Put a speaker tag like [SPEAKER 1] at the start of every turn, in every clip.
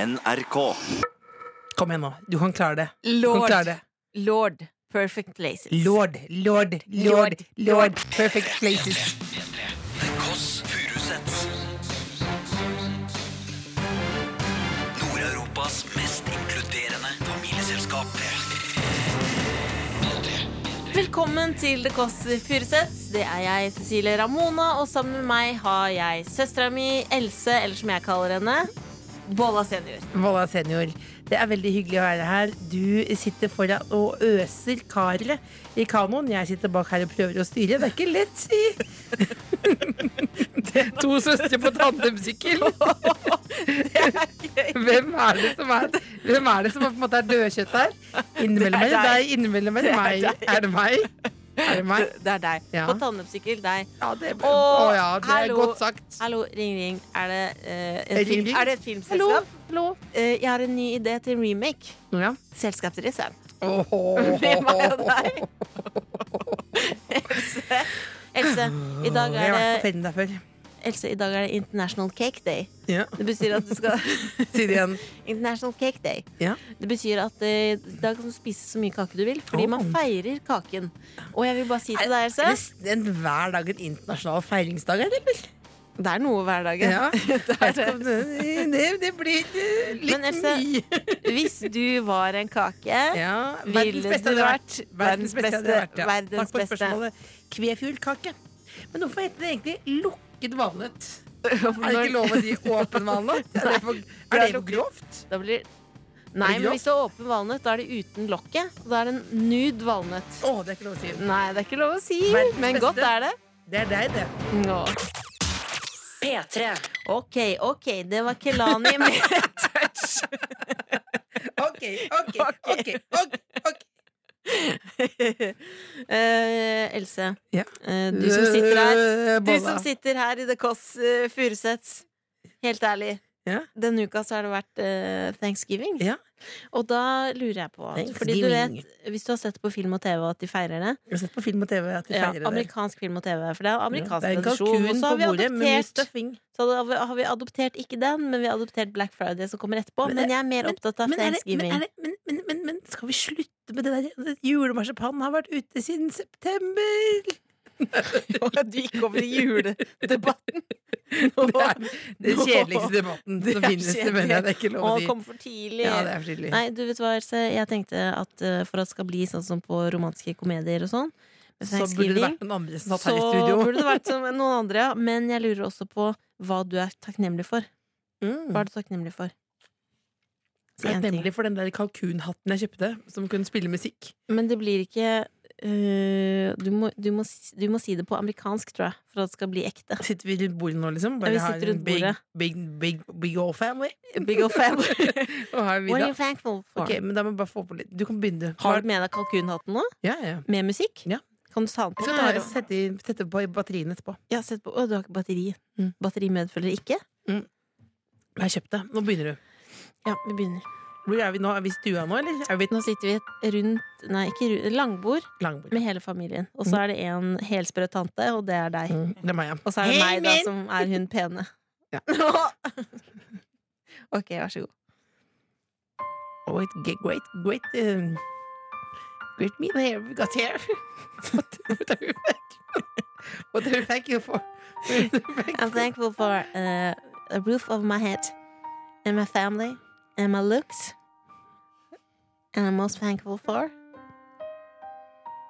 [SPEAKER 1] NRK.
[SPEAKER 2] Kom igjen nå, du kan klare det. Du kan klare
[SPEAKER 3] Lord.
[SPEAKER 2] det.
[SPEAKER 3] Lord. Perfect places.
[SPEAKER 2] Lord, lord, lord,
[SPEAKER 3] Lord.
[SPEAKER 2] lord. Perfect places.
[SPEAKER 1] The Kåss Furuseths. Nord-Europas mest inkluderende familieselskap.
[SPEAKER 3] Velkommen til The Kåss Furuseths. Det er jeg, Cecilie Ramona, og sammen med meg har jeg søstera mi Else, eller som jeg kaller henne, Bolla senior.
[SPEAKER 2] Volla senior, det er veldig hyggelig å være her. Du sitter foran og øser karet i kanoen. Jeg sitter bak her og prøver å styre. Det er ikke lett, si! Det er to søstre på tandemsykkel. Hvem er det som er, hvem er, det som er, på en måte er dødkjøtt her? Innimellom er
[SPEAKER 3] Det er
[SPEAKER 2] det
[SPEAKER 3] deg.
[SPEAKER 2] deg, innimellom er det
[SPEAKER 3] Det er
[SPEAKER 2] meg.
[SPEAKER 3] deg.
[SPEAKER 2] Er det meg? Er det meg?
[SPEAKER 3] Det er deg.
[SPEAKER 2] Ja.
[SPEAKER 3] På tandemsykkel, deg.
[SPEAKER 2] Ja, det,
[SPEAKER 3] Å,
[SPEAKER 2] å ja, det er
[SPEAKER 3] hallo.
[SPEAKER 2] godt sagt.
[SPEAKER 3] Hallo, ring, ring. Er det, eh, et,
[SPEAKER 2] Ring,
[SPEAKER 3] film,
[SPEAKER 2] ring.
[SPEAKER 3] er det et
[SPEAKER 2] Hallo.
[SPEAKER 3] filmselskap?
[SPEAKER 2] Hallo.
[SPEAKER 3] Eh, jeg har en ny idé til en remake.
[SPEAKER 2] Ja.
[SPEAKER 3] Selskapsreise.
[SPEAKER 2] Åhå.
[SPEAKER 3] Med meg og deg. Else, Else, i dag
[SPEAKER 2] Jeg har vært på
[SPEAKER 3] er det,
[SPEAKER 2] ferden der før.
[SPEAKER 3] Else, i dag er det International Cake Day.
[SPEAKER 2] Ja.
[SPEAKER 3] Det betyr at du skal
[SPEAKER 2] Si det igjen.
[SPEAKER 3] International Cake Day.
[SPEAKER 2] Ja.
[SPEAKER 3] Det betyr at eh, i dag kan du spise så mye kake du vil, fordi
[SPEAKER 2] Oh.
[SPEAKER 3] man feirer kaken. Og jeg vil bare si til deg, Else,
[SPEAKER 2] Nesten enhver dag en internasjonal feiringsdag, er det vel?
[SPEAKER 3] det er noe hver dag. ja.
[SPEAKER 2] det, er det. Det, det blir eh, litt
[SPEAKER 3] Men Else-
[SPEAKER 2] mye.
[SPEAKER 3] Hvis du var en kake
[SPEAKER 2] Ja,
[SPEAKER 3] Ville du
[SPEAKER 2] hadde
[SPEAKER 3] vært
[SPEAKER 2] Verdens beste hadde vært, ja.
[SPEAKER 3] verdens
[SPEAKER 2] Takk for
[SPEAKER 3] beste.
[SPEAKER 2] spørsmålet. Kvefjulkake. Men hvorfor heter det egentlig lukket valnøtt? Er det
[SPEAKER 3] når-
[SPEAKER 2] ikke lov å si åpen valnøtt? Er det for, er det for grovt?
[SPEAKER 3] Da blir Nei,
[SPEAKER 2] det
[SPEAKER 3] men
[SPEAKER 2] grovt?
[SPEAKER 3] hvis det er åpen valnøtt, da er det uten lokket. Og Da er det en nude valnøtt.
[SPEAKER 2] Å, det er ikke lov å si.
[SPEAKER 3] Nei, det er ikke lov å si,
[SPEAKER 2] Verdens
[SPEAKER 3] men
[SPEAKER 2] beste.
[SPEAKER 3] godt er det.
[SPEAKER 2] Det er deg, det.
[SPEAKER 3] Nå.
[SPEAKER 4] P3.
[SPEAKER 3] Ok, ok, det var Kelani med touch.
[SPEAKER 2] OK, OK, OK. ok, ok.
[SPEAKER 3] Eh, Else,
[SPEAKER 2] Ja.
[SPEAKER 3] eh, du som sitter her
[SPEAKER 2] Eh,
[SPEAKER 3] Du
[SPEAKER 2] bolla.
[SPEAKER 3] som sitter her i The Kåss uh, Furuseths. Helt ærlig.
[SPEAKER 2] Ja.
[SPEAKER 3] Denne uka så har det vært eh, thanksgiving.
[SPEAKER 2] Ja.
[SPEAKER 3] Og da lurer jeg på Fordi du
[SPEAKER 2] Thanksgiving.
[SPEAKER 3] vet, Hvis du har sett på film og TV og at de feirer det
[SPEAKER 2] Jeg har sett på film og TV at de
[SPEAKER 3] ja,
[SPEAKER 2] feirer det.
[SPEAKER 3] Amerikansk film og TV, for det er
[SPEAKER 2] Ja,
[SPEAKER 3] amerikansk
[SPEAKER 2] det er en
[SPEAKER 3] tradisjon.
[SPEAKER 2] kalkun
[SPEAKER 3] Og så
[SPEAKER 2] på
[SPEAKER 3] har vi
[SPEAKER 2] bordet med mye
[SPEAKER 3] adoptert
[SPEAKER 2] stuffing.
[SPEAKER 3] Så har vi- har vi adoptert ikke den, men vi har adoptert Black Friday som kommer etterpå.
[SPEAKER 2] Men
[SPEAKER 3] Men,
[SPEAKER 2] det-
[SPEAKER 3] jeg er mer opptatt av
[SPEAKER 2] Men, er det, men,
[SPEAKER 3] thanksgiving.
[SPEAKER 2] er det, men, men, men, men skal vi slutte med det der? Det Julemarsipanen har vært ute siden september!
[SPEAKER 3] Du gikk over til juledebatten.
[SPEAKER 2] Det er den kjedeligste debatten
[SPEAKER 3] Det er
[SPEAKER 2] som finnes. Det mener jeg det er ikke lov å
[SPEAKER 3] Å,
[SPEAKER 2] si.
[SPEAKER 3] kom for tidlig.
[SPEAKER 2] Ja, det er for tidlig.
[SPEAKER 3] Nei, du vet hva, Else. Jeg tenkte at eh, for at det skal bli sånn som på romantiske komedier og sånn, med
[SPEAKER 2] Så burde det
[SPEAKER 3] thanksgiving,
[SPEAKER 2] vært noen andre som satt
[SPEAKER 3] så
[SPEAKER 2] her i studio.
[SPEAKER 3] burde det vært som noen andre, ja. Men jeg lurer også på hva du er takknemlig for. Hva
[SPEAKER 2] Mm.
[SPEAKER 3] er du takknemlig for? Si
[SPEAKER 2] Jeg er
[SPEAKER 3] en ting.
[SPEAKER 2] nemlig for den der kalkunhatten jeg kjøpte, som kunne spille musikk.
[SPEAKER 3] Men det blir ikke eh, du, må, du, må, s- du må si det på amerikansk, tror jeg, for at det skal bli ekte.
[SPEAKER 2] Sitter vi rundt bordet nå, liksom?
[SPEAKER 3] Ja,
[SPEAKER 2] Bare
[SPEAKER 3] vi
[SPEAKER 2] har
[SPEAKER 3] sitter
[SPEAKER 2] en
[SPEAKER 3] rundt
[SPEAKER 2] big,
[SPEAKER 3] bordet.
[SPEAKER 2] big, big, big old family?
[SPEAKER 3] Big old family.
[SPEAKER 2] Og har
[SPEAKER 3] What are
[SPEAKER 2] middag.
[SPEAKER 3] you thankful for?
[SPEAKER 2] Ok, men da må vi bare få på litt. Du kan begynne, du.
[SPEAKER 3] Har du med deg kalkunhatten nå?
[SPEAKER 2] Ja, ja.
[SPEAKER 3] Med musikk?
[SPEAKER 2] Ja.
[SPEAKER 3] Kan du ta
[SPEAKER 2] Jeg
[SPEAKER 3] den på?
[SPEAKER 2] skal
[SPEAKER 3] her
[SPEAKER 2] ta,
[SPEAKER 3] og-
[SPEAKER 2] sette, i- sette på i batteriene etterpå.
[SPEAKER 3] Ja, sett på. Å, du har ikke batteri.
[SPEAKER 2] Mm.
[SPEAKER 3] Batteri medfølger ikke?
[SPEAKER 2] Jeg har kjøpt det. Nå begynner du.
[SPEAKER 3] Ja, vi begynner.
[SPEAKER 2] Hvor er vi nå? Er vi i stua nå, eller? Er vi i
[SPEAKER 3] Nå sitter vi i et rundt, nei, ikke rundt, langbord
[SPEAKER 2] et langbord?
[SPEAKER 3] med hele familien. Og så er det en helsprø tante, og det er deg.
[SPEAKER 2] Mm, Det er meg, ja.
[SPEAKER 3] Og så er det
[SPEAKER 2] Hei,
[SPEAKER 3] meg, da,
[SPEAKER 2] min!
[SPEAKER 3] som er hun pene.
[SPEAKER 2] Ja.
[SPEAKER 3] ok, vær så god.
[SPEAKER 2] Oh, it ge- great, great, um, great meal here we got here. What- what are you thank- What are you thank you for? What are you thank
[SPEAKER 3] I'm thankful for uh, a roof over my head, and my family, and my looks. And I'm most thankful for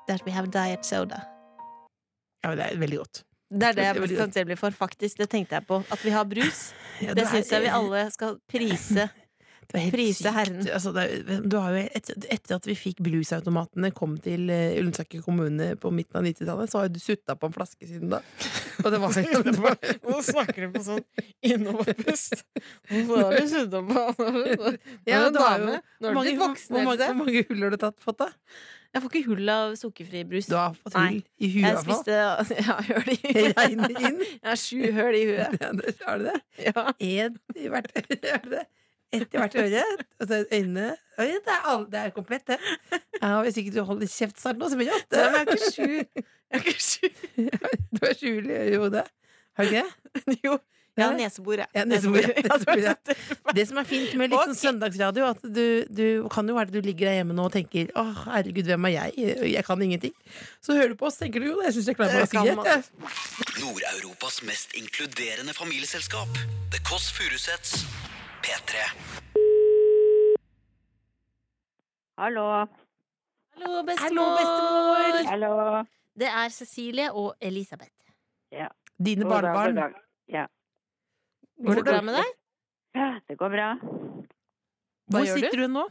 [SPEAKER 3] that we have diet soda.
[SPEAKER 2] Ja, men det er veldig godt.
[SPEAKER 3] Det er det jeg
[SPEAKER 2] Det er
[SPEAKER 3] er
[SPEAKER 2] veldig
[SPEAKER 3] mest
[SPEAKER 2] godt.
[SPEAKER 3] takknemlig for, faktisk. Det tenkte jeg på. At vi har brus.
[SPEAKER 2] Ja, du
[SPEAKER 3] Det
[SPEAKER 2] er-
[SPEAKER 3] syns jeg vi alle skal prise.
[SPEAKER 2] Det er helt
[SPEAKER 3] Prise
[SPEAKER 2] sykt.
[SPEAKER 3] Herren.
[SPEAKER 2] Altså, det er, du har jo et, etter at vi fikk bluesautomatene kom til eh, Ullensaker kommune på midten av 90-tallet, så har jo du sutta på en flaske siden da. Og det var, det var
[SPEAKER 3] Nå snakker du på sånn innoverpust. Hvorfor har du snudd om på
[SPEAKER 2] Ja,
[SPEAKER 3] Ja,
[SPEAKER 2] du har jo-
[SPEAKER 3] dame.
[SPEAKER 2] Hvor
[SPEAKER 3] Nå er du
[SPEAKER 2] mange,
[SPEAKER 3] blitt voksen.
[SPEAKER 2] hvor, mange,
[SPEAKER 3] Else.
[SPEAKER 2] hvor mange hull har du tatt, fått, da?
[SPEAKER 3] Jeg får ikke hull av sukkerfri brus.
[SPEAKER 2] Du har fått
[SPEAKER 3] Nei.
[SPEAKER 2] hull i huet, i
[SPEAKER 3] Jeg
[SPEAKER 2] hvert fall.
[SPEAKER 3] spiste ja, høl i
[SPEAKER 2] Det
[SPEAKER 3] huet.
[SPEAKER 2] regner inn.
[SPEAKER 3] Jeg har sju høl i huet.
[SPEAKER 2] Ja, det- Har du det?
[SPEAKER 3] Ja.
[SPEAKER 2] Én i hvert øre. det? Ett i hvert øre. Og så øynene Oi, det, er all, det er komplett, det. Ja, hvis ikke du holder kjeft snart nå, så blir det
[SPEAKER 3] Nei, men jeg
[SPEAKER 2] åtte.
[SPEAKER 3] har ikke sju. Jeg har ikke sju.
[SPEAKER 2] Du har sju hull i hodet. Har du ikke det?
[SPEAKER 3] Jo, Ja, neseboret.
[SPEAKER 2] Ja, neseboret. Neseboret.
[SPEAKER 3] Neseboret.
[SPEAKER 2] Det som er fint med litt sånn
[SPEAKER 3] Ok.
[SPEAKER 2] søndagsradio, at du, du kan jo være at du ligger der hjemme nå og tenker Å, herregud, hvem er jeg? Jeg kan ingenting. Så hører du på oss, tenker du jo det. Jeg syns jeg klarer meg
[SPEAKER 3] Jeg kan
[SPEAKER 2] ganske greit.
[SPEAKER 3] masse.
[SPEAKER 2] jeg».
[SPEAKER 1] Nord-Europas mest inkluderende familieselskap. The Kåss Furuseths. P3.
[SPEAKER 5] Hallo.
[SPEAKER 3] Hallo,
[SPEAKER 4] Hallo,
[SPEAKER 3] bestemor!
[SPEAKER 5] Hallo.
[SPEAKER 3] Det er Cecilie og Elisabeth.
[SPEAKER 2] Dine
[SPEAKER 5] God dag, god
[SPEAKER 2] barnebarn.
[SPEAKER 5] dag. Ja.
[SPEAKER 3] Går det bra med deg?
[SPEAKER 5] Det går bra.
[SPEAKER 3] Hva
[SPEAKER 2] Hvor
[SPEAKER 3] gjør du?
[SPEAKER 2] sitter hun nå?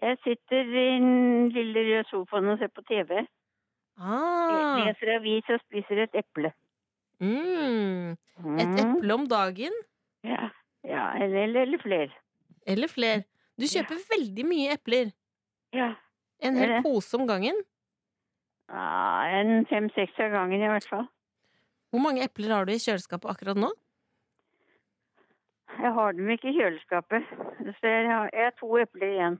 [SPEAKER 5] Jeg sitter i den lille røde sofaen og ser på TV.
[SPEAKER 3] Ah,
[SPEAKER 5] Leser avis og spiser et eple.
[SPEAKER 3] mm.
[SPEAKER 5] Mm.
[SPEAKER 3] Et eple om dagen,
[SPEAKER 5] Ja, ja eller, eller, eller flere.
[SPEAKER 3] eller fler. Du kjøper veldig mye epler.
[SPEAKER 5] Ja.
[SPEAKER 3] En
[SPEAKER 5] Det er
[SPEAKER 3] hel
[SPEAKER 5] det.
[SPEAKER 3] pose om gangen.
[SPEAKER 5] Ja, en fem-seks av gangen i hvert fall.
[SPEAKER 3] Hvor mange epler har du i kjøleskapet akkurat nå?
[SPEAKER 5] Jeg har dem ikke i kjøleskapet, så jeg har, jeg har to epler igjen.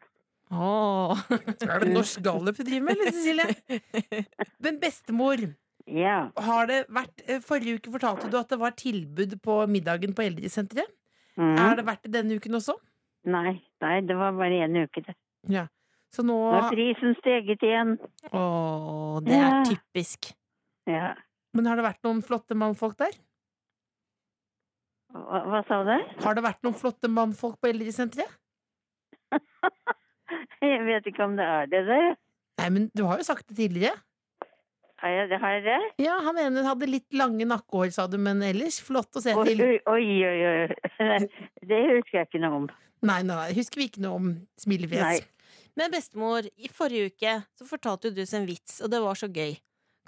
[SPEAKER 3] Åh.
[SPEAKER 2] Er det norsk gallup du driver med, eller, Cecilie? Men bestemor,
[SPEAKER 5] Ja.
[SPEAKER 2] har det vært eh, Forrige uke fortalte du at det var tilbud på middagen på eldresenteret.
[SPEAKER 5] Mm.
[SPEAKER 2] Har det vært det denne uken også?
[SPEAKER 5] Nei, nei, det var bare én uke, det.
[SPEAKER 2] Så nå
[SPEAKER 5] Nå har prisen steget igjen.
[SPEAKER 3] Åh, det er
[SPEAKER 5] Ja.
[SPEAKER 3] typisk.
[SPEAKER 5] Ja.
[SPEAKER 2] Men har det vært noen flotte mannfolk der?
[SPEAKER 5] Hva, hva sa du?
[SPEAKER 2] Har det vært noen flotte mannfolk på eldresenteret?
[SPEAKER 5] Jeg vet ikke om det er det der.
[SPEAKER 2] Nei, men du har jo sagt det tidligere.
[SPEAKER 5] Har jeg det? Har jeg det?
[SPEAKER 2] Ja, han ene hadde litt lange nakkehår, sa du, men ellers flott å se
[SPEAKER 5] Oi,
[SPEAKER 2] til.
[SPEAKER 5] oi, oi. oi. Nei, Det husker jeg ikke noe om.
[SPEAKER 2] Nei, nei, nei, husker vi ikke noe om
[SPEAKER 5] Nei.
[SPEAKER 2] smilefjes.
[SPEAKER 3] Men bestemor, i forrige uke så fortalte du oss en vits, og det var så gøy.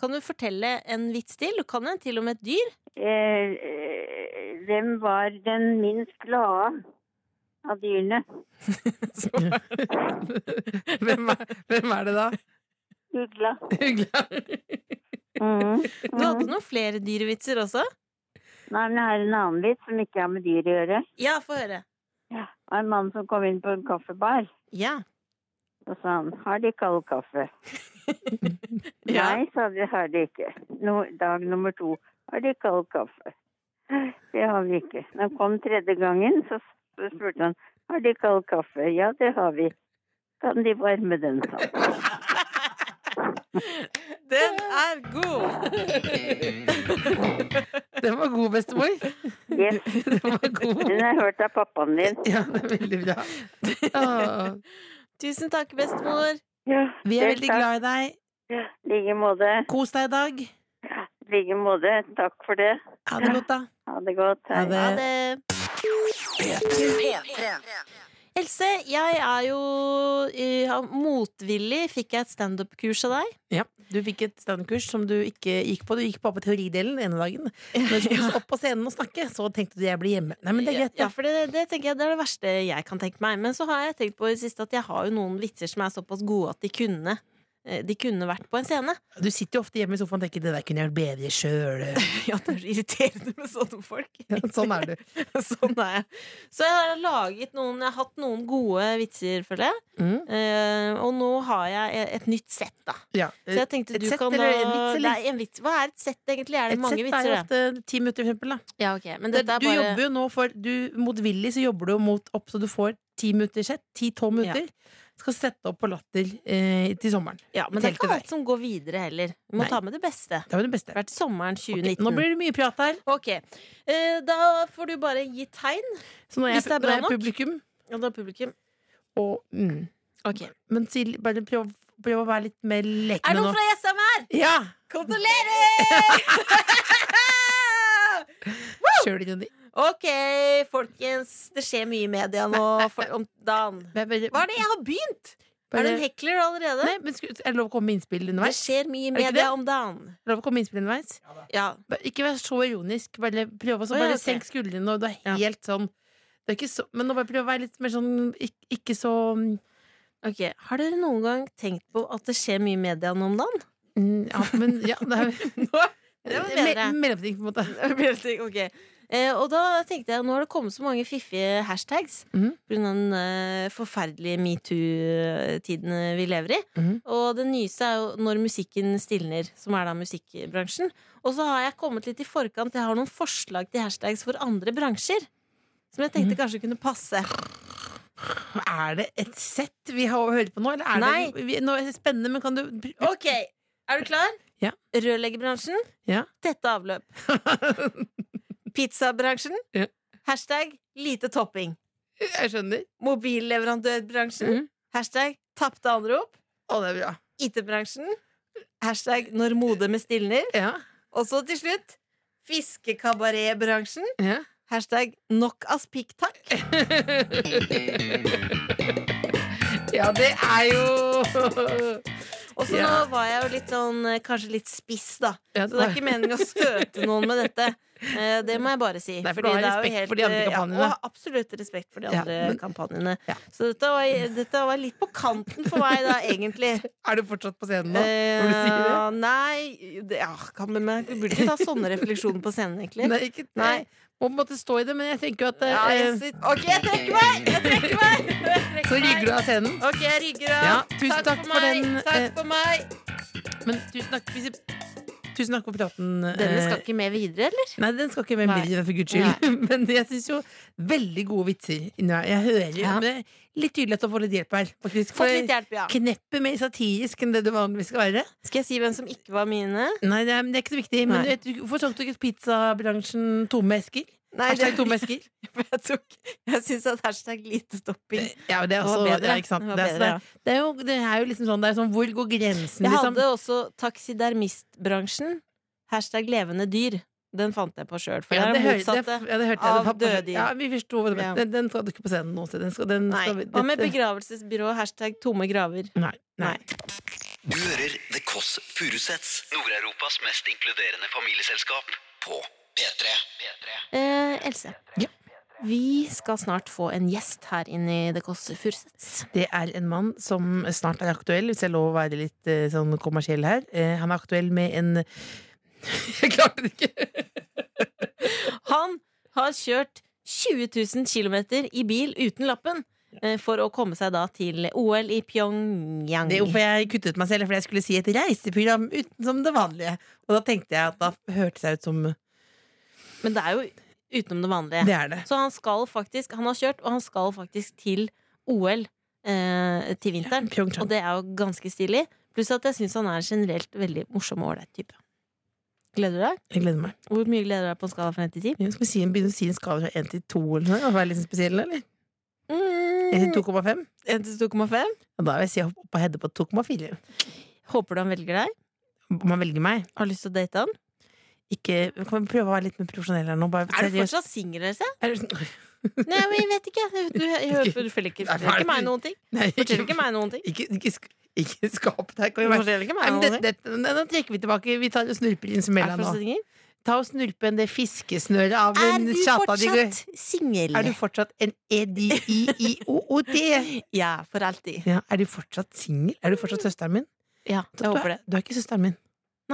[SPEAKER 3] Kan du fortelle en vits til? Og kan en til og med et dyr?
[SPEAKER 5] Eh, eh, hvem var den minst glade av dyrene?
[SPEAKER 2] hvem, er, hvem er det da?
[SPEAKER 5] Ugla.
[SPEAKER 2] Hyggelig.
[SPEAKER 5] Mhm,
[SPEAKER 3] Du hadde
[SPEAKER 5] mhm.
[SPEAKER 3] noen flere dyrevitser også?
[SPEAKER 5] Nei, men jeg har en annen vits som ikke har med dyr å gjøre.
[SPEAKER 3] Ja, få høre.
[SPEAKER 5] Det var en mann som kom inn på en kaffebar,
[SPEAKER 3] Ja.
[SPEAKER 5] og sa han 'har de kald kaffe'?
[SPEAKER 3] Ja.
[SPEAKER 5] Nei, sa de, har de ikke. No, dag nummer to har de kald kaffe. Det har vi ikke. Da han kom tredje gangen, så sp- spurte han har de kald kaffe. Ja, det har vi. Kan de varme den? sa han.
[SPEAKER 3] Den er god!
[SPEAKER 2] Den var god, bestemor.
[SPEAKER 5] Yes,
[SPEAKER 2] Den var god.
[SPEAKER 5] den har jeg hørt av pappaen din.
[SPEAKER 2] Ja, det er veldig bra. Åh,
[SPEAKER 3] Tusen takk, bestemor.
[SPEAKER 5] Ja,
[SPEAKER 2] vi er veldig glad i deg.
[SPEAKER 5] I like måte.
[SPEAKER 2] Kos deg i dag.
[SPEAKER 5] I like måte. Takk for det.
[SPEAKER 2] Ha det godt, da.
[SPEAKER 5] Ha det godt. Hei.
[SPEAKER 2] Ha det.
[SPEAKER 3] Ha det.
[SPEAKER 4] P3.
[SPEAKER 3] Else, jeg er jo eh, motvillig. Fikk jeg et standup-kurs av deg?
[SPEAKER 2] Ja, Du fikk et standkurs som du ikke gikk på. Du gikk bare på teoridelen den ene dagen. Men skulle du opp på scenen og snakke, så tenkte du jeg blir hjemme. Nei, men det er greit.
[SPEAKER 3] Ja,
[SPEAKER 2] da.
[SPEAKER 3] for det, det tenker jeg det er det verste jeg kan tenke meg. Men så har jeg tenkt på i det siste at jeg har jo noen vitser som er såpass gode at de kunne eh, de kunne vært på en scene.
[SPEAKER 2] Du sitter jo ofte hjemme i sofaen og tenker det der kunne jeg gjort bedre sjøl.
[SPEAKER 3] Ja, det er så irriterende med sånne folk.
[SPEAKER 2] Sånn er du.
[SPEAKER 3] Sånn er jeg. Så jeg har laget noen Jeg har hatt noen gode vitser, føler jeg.
[SPEAKER 2] Mm.
[SPEAKER 3] Eh, og nå har jeg e, et nytt sett, da.
[SPEAKER 2] Ja.
[SPEAKER 3] Så jeg tenkte
[SPEAKER 2] Et
[SPEAKER 3] du
[SPEAKER 2] sett
[SPEAKER 3] kan
[SPEAKER 2] eller
[SPEAKER 3] da
[SPEAKER 2] en vits, eller?
[SPEAKER 3] Det er en vits. Hva er et sett, egentlig? Er det
[SPEAKER 2] Et
[SPEAKER 3] mange
[SPEAKER 2] sett er
[SPEAKER 3] vitser?
[SPEAKER 2] jo
[SPEAKER 3] det?
[SPEAKER 2] ofte ti minutter, for eksempel. Da.
[SPEAKER 3] Ja, ok. Men dette er
[SPEAKER 2] du
[SPEAKER 3] bare
[SPEAKER 2] jobber jo nå for du, Motvillig så jobber du jo mot opp så du får ti minutter sett. Ti-tolv minutter. Skal sette opp på Latter eh, til sommeren.
[SPEAKER 3] Ja, men det er
[SPEAKER 2] Telt til
[SPEAKER 3] ikke
[SPEAKER 2] deg.
[SPEAKER 3] alt som går videre heller. Vi må
[SPEAKER 2] Nei.
[SPEAKER 3] ta med det beste.
[SPEAKER 2] Det var det beste.
[SPEAKER 3] Det har vært sommeren
[SPEAKER 2] Ok,
[SPEAKER 3] 2019.
[SPEAKER 2] nå blir det mye prat her.
[SPEAKER 3] Ok, Eh, Da får du bare gi tegn.
[SPEAKER 2] Så nå er jeg,
[SPEAKER 3] Hvis det er
[SPEAKER 2] nå
[SPEAKER 3] bra
[SPEAKER 2] er jeg
[SPEAKER 3] nok.
[SPEAKER 2] publikum.
[SPEAKER 3] Og da publikum.
[SPEAKER 2] Og, mm.
[SPEAKER 3] Ok.
[SPEAKER 2] Men Sil, bare prøv, prøv å være litt mer
[SPEAKER 3] Er det
[SPEAKER 2] lekende
[SPEAKER 3] noen
[SPEAKER 2] nå.
[SPEAKER 3] fra SM her?
[SPEAKER 2] Ja!
[SPEAKER 3] Kondolerer!
[SPEAKER 2] Kjør det, Jonny.
[SPEAKER 3] ok, folkens. Det skjer mye i media nå for, om dagen. Hva er det jeg har begynt? Er du en hekler allerede?
[SPEAKER 2] Nei, men sku- er det lov å komme med innspill
[SPEAKER 3] Det
[SPEAKER 2] underveis?
[SPEAKER 3] skjer mye i
[SPEAKER 2] Er det ikke
[SPEAKER 3] media
[SPEAKER 2] det?
[SPEAKER 3] om dagen.
[SPEAKER 2] Er det Lov å komme med innspill underveis?
[SPEAKER 3] Ja.
[SPEAKER 2] Bare Ikke vær så ironisk. Bare prøv å så
[SPEAKER 3] Å, ja,
[SPEAKER 2] bare
[SPEAKER 3] ok.
[SPEAKER 2] senk skuldrene, og du er
[SPEAKER 3] Ja.
[SPEAKER 2] helt sånn det er ikke så, Men nå bare prøv å være litt mer sånn ikke, ikke så mm,
[SPEAKER 3] Ok, Har dere noen gang tenkt på at det skjer mye i media nå om dagen?
[SPEAKER 2] mm, Ja, men ja, det er Eh,
[SPEAKER 3] Nå, det var
[SPEAKER 2] me-
[SPEAKER 3] bedre.
[SPEAKER 2] mellomting, på en måte.
[SPEAKER 3] Ok, Eh, og da tenkte jeg, nå har det kommet så mange fiffige hashtags
[SPEAKER 2] Mhm.
[SPEAKER 3] pga. den eh, forferdelige metoo-tiden eh, vi lever i.
[SPEAKER 2] Mhm.
[SPEAKER 3] Og det nyeste er jo Når musikken stilner, som er da musikkbransjen. Og så har jeg kommet litt i forkant. Jeg har noen forslag til hashtags for andre bransjer. Som
[SPEAKER 2] Mhm.
[SPEAKER 3] jeg tenkte kanskje kunne passe.
[SPEAKER 2] Er det et sett vi har å høre på nå? Eller er
[SPEAKER 3] Nei.
[SPEAKER 2] Det, vi, nå er det spennende, men kan du
[SPEAKER 3] Ok, Er du klar?
[SPEAKER 2] Ja.
[SPEAKER 3] Rørleggerbransjen.
[SPEAKER 2] Ja.
[SPEAKER 3] Tette avløp. Pizzabransjen.
[SPEAKER 2] Ja.
[SPEAKER 3] Hashtag lite topping.
[SPEAKER 2] Jeg skjønner.
[SPEAKER 3] Mobilleverandørbransjen.
[SPEAKER 2] Mhm.
[SPEAKER 3] Hashtag tapte anrop.
[SPEAKER 2] Å, det er bra.
[SPEAKER 3] IT-bransjen. Hashtag når modemet stilner.
[SPEAKER 2] Ja.
[SPEAKER 3] Og så til slutt fiskekabaretbransjen.
[SPEAKER 2] ja.
[SPEAKER 3] Hashtag nok as pikk takk.
[SPEAKER 2] Ja, det er jo
[SPEAKER 3] Og så
[SPEAKER 2] Ja.
[SPEAKER 3] nå var jeg jo litt sånn eh, kanskje litt spiss, da.
[SPEAKER 2] ja,
[SPEAKER 3] Så det er ikke meningen å støte noen med dette. Eh, Det må jeg bare si.
[SPEAKER 2] Nei, for du har
[SPEAKER 3] det er jo
[SPEAKER 2] respekt for de andre
[SPEAKER 3] eh,
[SPEAKER 2] kampanjene.
[SPEAKER 3] Ja, og absolutt respekt for de
[SPEAKER 2] Ja,
[SPEAKER 3] andre
[SPEAKER 2] men-
[SPEAKER 3] kampanjene.
[SPEAKER 2] Ja.
[SPEAKER 3] Så dette var, dette var litt på kanten for meg, da, egentlig.
[SPEAKER 2] Er du fortsatt på scenen nå? Når du sier det?
[SPEAKER 3] Eh, nei det, ja, kan, men, men, Du burde ikke ta sånne refleksjoner på scenen, egentlig.
[SPEAKER 2] Nei, ikke, nei.
[SPEAKER 3] Nei.
[SPEAKER 2] Må på en måte stå i det, men jeg tenker jo at eh,
[SPEAKER 3] Ja, jeg,
[SPEAKER 2] eh,
[SPEAKER 3] sitter- ok, jeg trekker meg! Jeg trekker meg! Jeg trekker
[SPEAKER 2] Så rygger du av scenen.
[SPEAKER 3] meg. Ok, jeg rygger av.
[SPEAKER 2] Ja, tusen takk for
[SPEAKER 3] meg.
[SPEAKER 2] den, eh,
[SPEAKER 3] Takk for meg.
[SPEAKER 2] Men tusen takk, hvis jeg- tusen takk for praten. eh,
[SPEAKER 3] Denne skal ikke med videre, eller?
[SPEAKER 2] Nei, den skal ikke med
[SPEAKER 3] Nei.
[SPEAKER 2] videre, for guds skyld. Men jeg syns jo veldig gode vitser. inni meg. Jeg hører jo,
[SPEAKER 3] Ja.
[SPEAKER 2] men det er litt tydelig at du får litt hjelp her. Faktisk. For
[SPEAKER 3] Fått litt hjelp, ja.
[SPEAKER 2] Kneppet mer satirisk enn det du vanligvis skal være.
[SPEAKER 3] Skal jeg si hvem som ikke var mine?
[SPEAKER 2] Nei, det er, det er ikke så viktig. Men
[SPEAKER 3] Nei.
[SPEAKER 2] du vet, du- hvorfor solgte du ikke pizzabransjen tomme esker?
[SPEAKER 3] Nei,
[SPEAKER 2] Hashtag tomme esker.
[SPEAKER 3] jeg tok Jeg syns at hashtag lite stopping
[SPEAKER 2] Ja, det er
[SPEAKER 3] var
[SPEAKER 2] også
[SPEAKER 3] bedre.
[SPEAKER 2] ja, ikke sant?
[SPEAKER 3] Det var
[SPEAKER 2] Det er,
[SPEAKER 3] bedre, ja.
[SPEAKER 2] så det, er, det, er jo, det er jo liksom sånn, det er sånn Hvor går grensen,
[SPEAKER 3] Jeg
[SPEAKER 2] liksom?
[SPEAKER 3] hadde også taksidermistbransjen. Hashtag levende dyr. Den fant jeg på sjøl, for
[SPEAKER 2] Ja,
[SPEAKER 3] det
[SPEAKER 2] det,
[SPEAKER 3] er
[SPEAKER 2] hører- det,
[SPEAKER 3] motsatte.
[SPEAKER 2] ja, det hørte jeg. Det
[SPEAKER 3] av
[SPEAKER 2] var på-
[SPEAKER 3] døde dyr.
[SPEAKER 2] Ja, vi forsto hva du
[SPEAKER 3] Ja.
[SPEAKER 2] mente. Den, den skal du ikke på scenen noe sted. Den skal, den
[SPEAKER 3] Nei.
[SPEAKER 2] skal, vi-
[SPEAKER 3] Hva med
[SPEAKER 2] dette-
[SPEAKER 3] begravelsesbyrå? Hashtag tomme graver.
[SPEAKER 2] Nei. nei.
[SPEAKER 3] Nei.
[SPEAKER 1] Du hører The Kåss Furuseths, Nord-Europas mest inkluderende familieselskap, på P3.
[SPEAKER 3] Eh, Else.
[SPEAKER 2] Ja.
[SPEAKER 3] Vi skal snart få en gjest her inne i The Kåss Furuseths.
[SPEAKER 2] Det er en mann som snart er aktuell, hvis jeg lover å være litt eh, sånn kommersiell her. Eh, han er aktuell med en Jeg klarte det ikke!
[SPEAKER 3] Han har kjørt 20 000 km i bil uten lappen eh, for å komme seg da til OL i Pyongyang.
[SPEAKER 2] Det er hvorfor jeg kuttet meg selv, fordi jeg skulle si et reiseprogram uten som det vanlige. Og da tenkte jeg at da hørtes jeg ut som
[SPEAKER 3] Men det er jo utenom det vanlige.
[SPEAKER 2] Det er det.
[SPEAKER 3] Så han skal faktisk Han har kjørt, og han skal faktisk til OL eh, til vinteren.
[SPEAKER 2] Pyeongchang.
[SPEAKER 3] og det er jo ganske stilig. Pluss at jeg syns han er en generelt veldig morsom og ålreit type. Gleder du deg?
[SPEAKER 2] Jeg gleder meg.
[SPEAKER 3] Hvor mye gleder du deg på en skala fra 1 til 10?
[SPEAKER 2] Vi skal si en, begynne å si en skala fra 1 til 2 eller noe. og Være litt spesiell, eller?
[SPEAKER 3] Mm.
[SPEAKER 2] 1 til 2,5?
[SPEAKER 3] 1 til 2,5.
[SPEAKER 2] Og Da vil jeg si opp opp og hedde på 2,4.
[SPEAKER 3] Håper du han velger deg.
[SPEAKER 2] Om han velger meg.
[SPEAKER 3] Har lyst til å date han.
[SPEAKER 2] Ikke, kan vi prøve å være litt mer profesjonell her nå? Bare,
[SPEAKER 3] Er du
[SPEAKER 2] seriøst.
[SPEAKER 3] fortsatt singel, Else?
[SPEAKER 2] Er du-
[SPEAKER 3] Nei, men jeg vet ikke. Du, du, jeg hører, du forteller ikke, forteller ikke meg noen ting.
[SPEAKER 2] Nei,
[SPEAKER 3] Forteller ikke meg noen ting.
[SPEAKER 2] Ikke, ikke, sk- ikke skap det her. Kan
[SPEAKER 3] Du
[SPEAKER 2] vi være
[SPEAKER 3] forteller ikke
[SPEAKER 2] Nei,
[SPEAKER 3] meg
[SPEAKER 2] men
[SPEAKER 3] noen ting.
[SPEAKER 2] det, det, nei, nå trekker vi tilbake. Vi tar og snurper inn
[SPEAKER 3] Er du
[SPEAKER 2] smella nå.
[SPEAKER 3] fortsatt singel?
[SPEAKER 2] Ta og snurpe en det fiskesnøret av
[SPEAKER 3] Er
[SPEAKER 2] en
[SPEAKER 3] du
[SPEAKER 2] tjata di.
[SPEAKER 3] fortsatt singel?
[SPEAKER 2] Er du fortsatt en E E-D-I-I-O-O-D?
[SPEAKER 3] Ja, for alltid.
[SPEAKER 2] Ja, er du fortsatt singel? Er du fortsatt søsteren min?
[SPEAKER 3] Ja,
[SPEAKER 2] Du,
[SPEAKER 3] jeg håper det.
[SPEAKER 2] er, du er ikke søsteren min.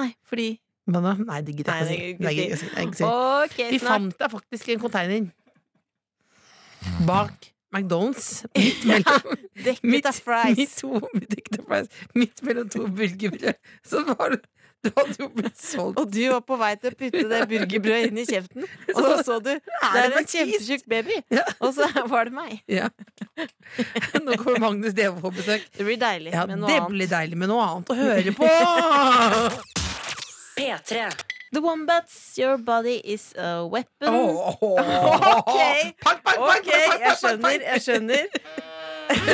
[SPEAKER 3] Nei, fordi
[SPEAKER 2] Hva da? Nei, det gidder
[SPEAKER 3] Nei,
[SPEAKER 2] jeg
[SPEAKER 3] det
[SPEAKER 2] ikke å si. Nei,
[SPEAKER 3] gidder
[SPEAKER 2] jeg gidder ikke å si.
[SPEAKER 3] Ok,
[SPEAKER 2] Vi
[SPEAKER 3] snart.
[SPEAKER 2] fant deg faktisk i en container. Bak McDonald's. Midt mellom,
[SPEAKER 3] Dekket
[SPEAKER 2] midt,
[SPEAKER 3] av fries.
[SPEAKER 2] midt, to, midt, ikke til fries, midt mellom to burgerbrød. Så var du Du hadde jo blitt solgt.
[SPEAKER 3] Og du var på vei til å putte det burgerbrødet inn i kjeften, og så så du det
[SPEAKER 2] det
[SPEAKER 3] er en
[SPEAKER 2] faktisk?
[SPEAKER 3] kjempetjukk baby.
[SPEAKER 2] Ja.
[SPEAKER 3] Og så var det meg.
[SPEAKER 2] Ja. Nå kommer Magnus Devold på besøk.
[SPEAKER 3] Det blir deilig
[SPEAKER 2] Ja,
[SPEAKER 3] med
[SPEAKER 2] det
[SPEAKER 3] noe annet.
[SPEAKER 2] blir deilig med noe annet å høre på!
[SPEAKER 4] P3.
[SPEAKER 3] The Wombats, your body is a weapon.
[SPEAKER 2] Åh.
[SPEAKER 3] Ok.
[SPEAKER 2] Pakk, pakk, pakk,
[SPEAKER 3] Ok,
[SPEAKER 2] pakk,
[SPEAKER 3] jeg
[SPEAKER 2] pakk, pakk,
[SPEAKER 3] skjønner, jeg skjønner.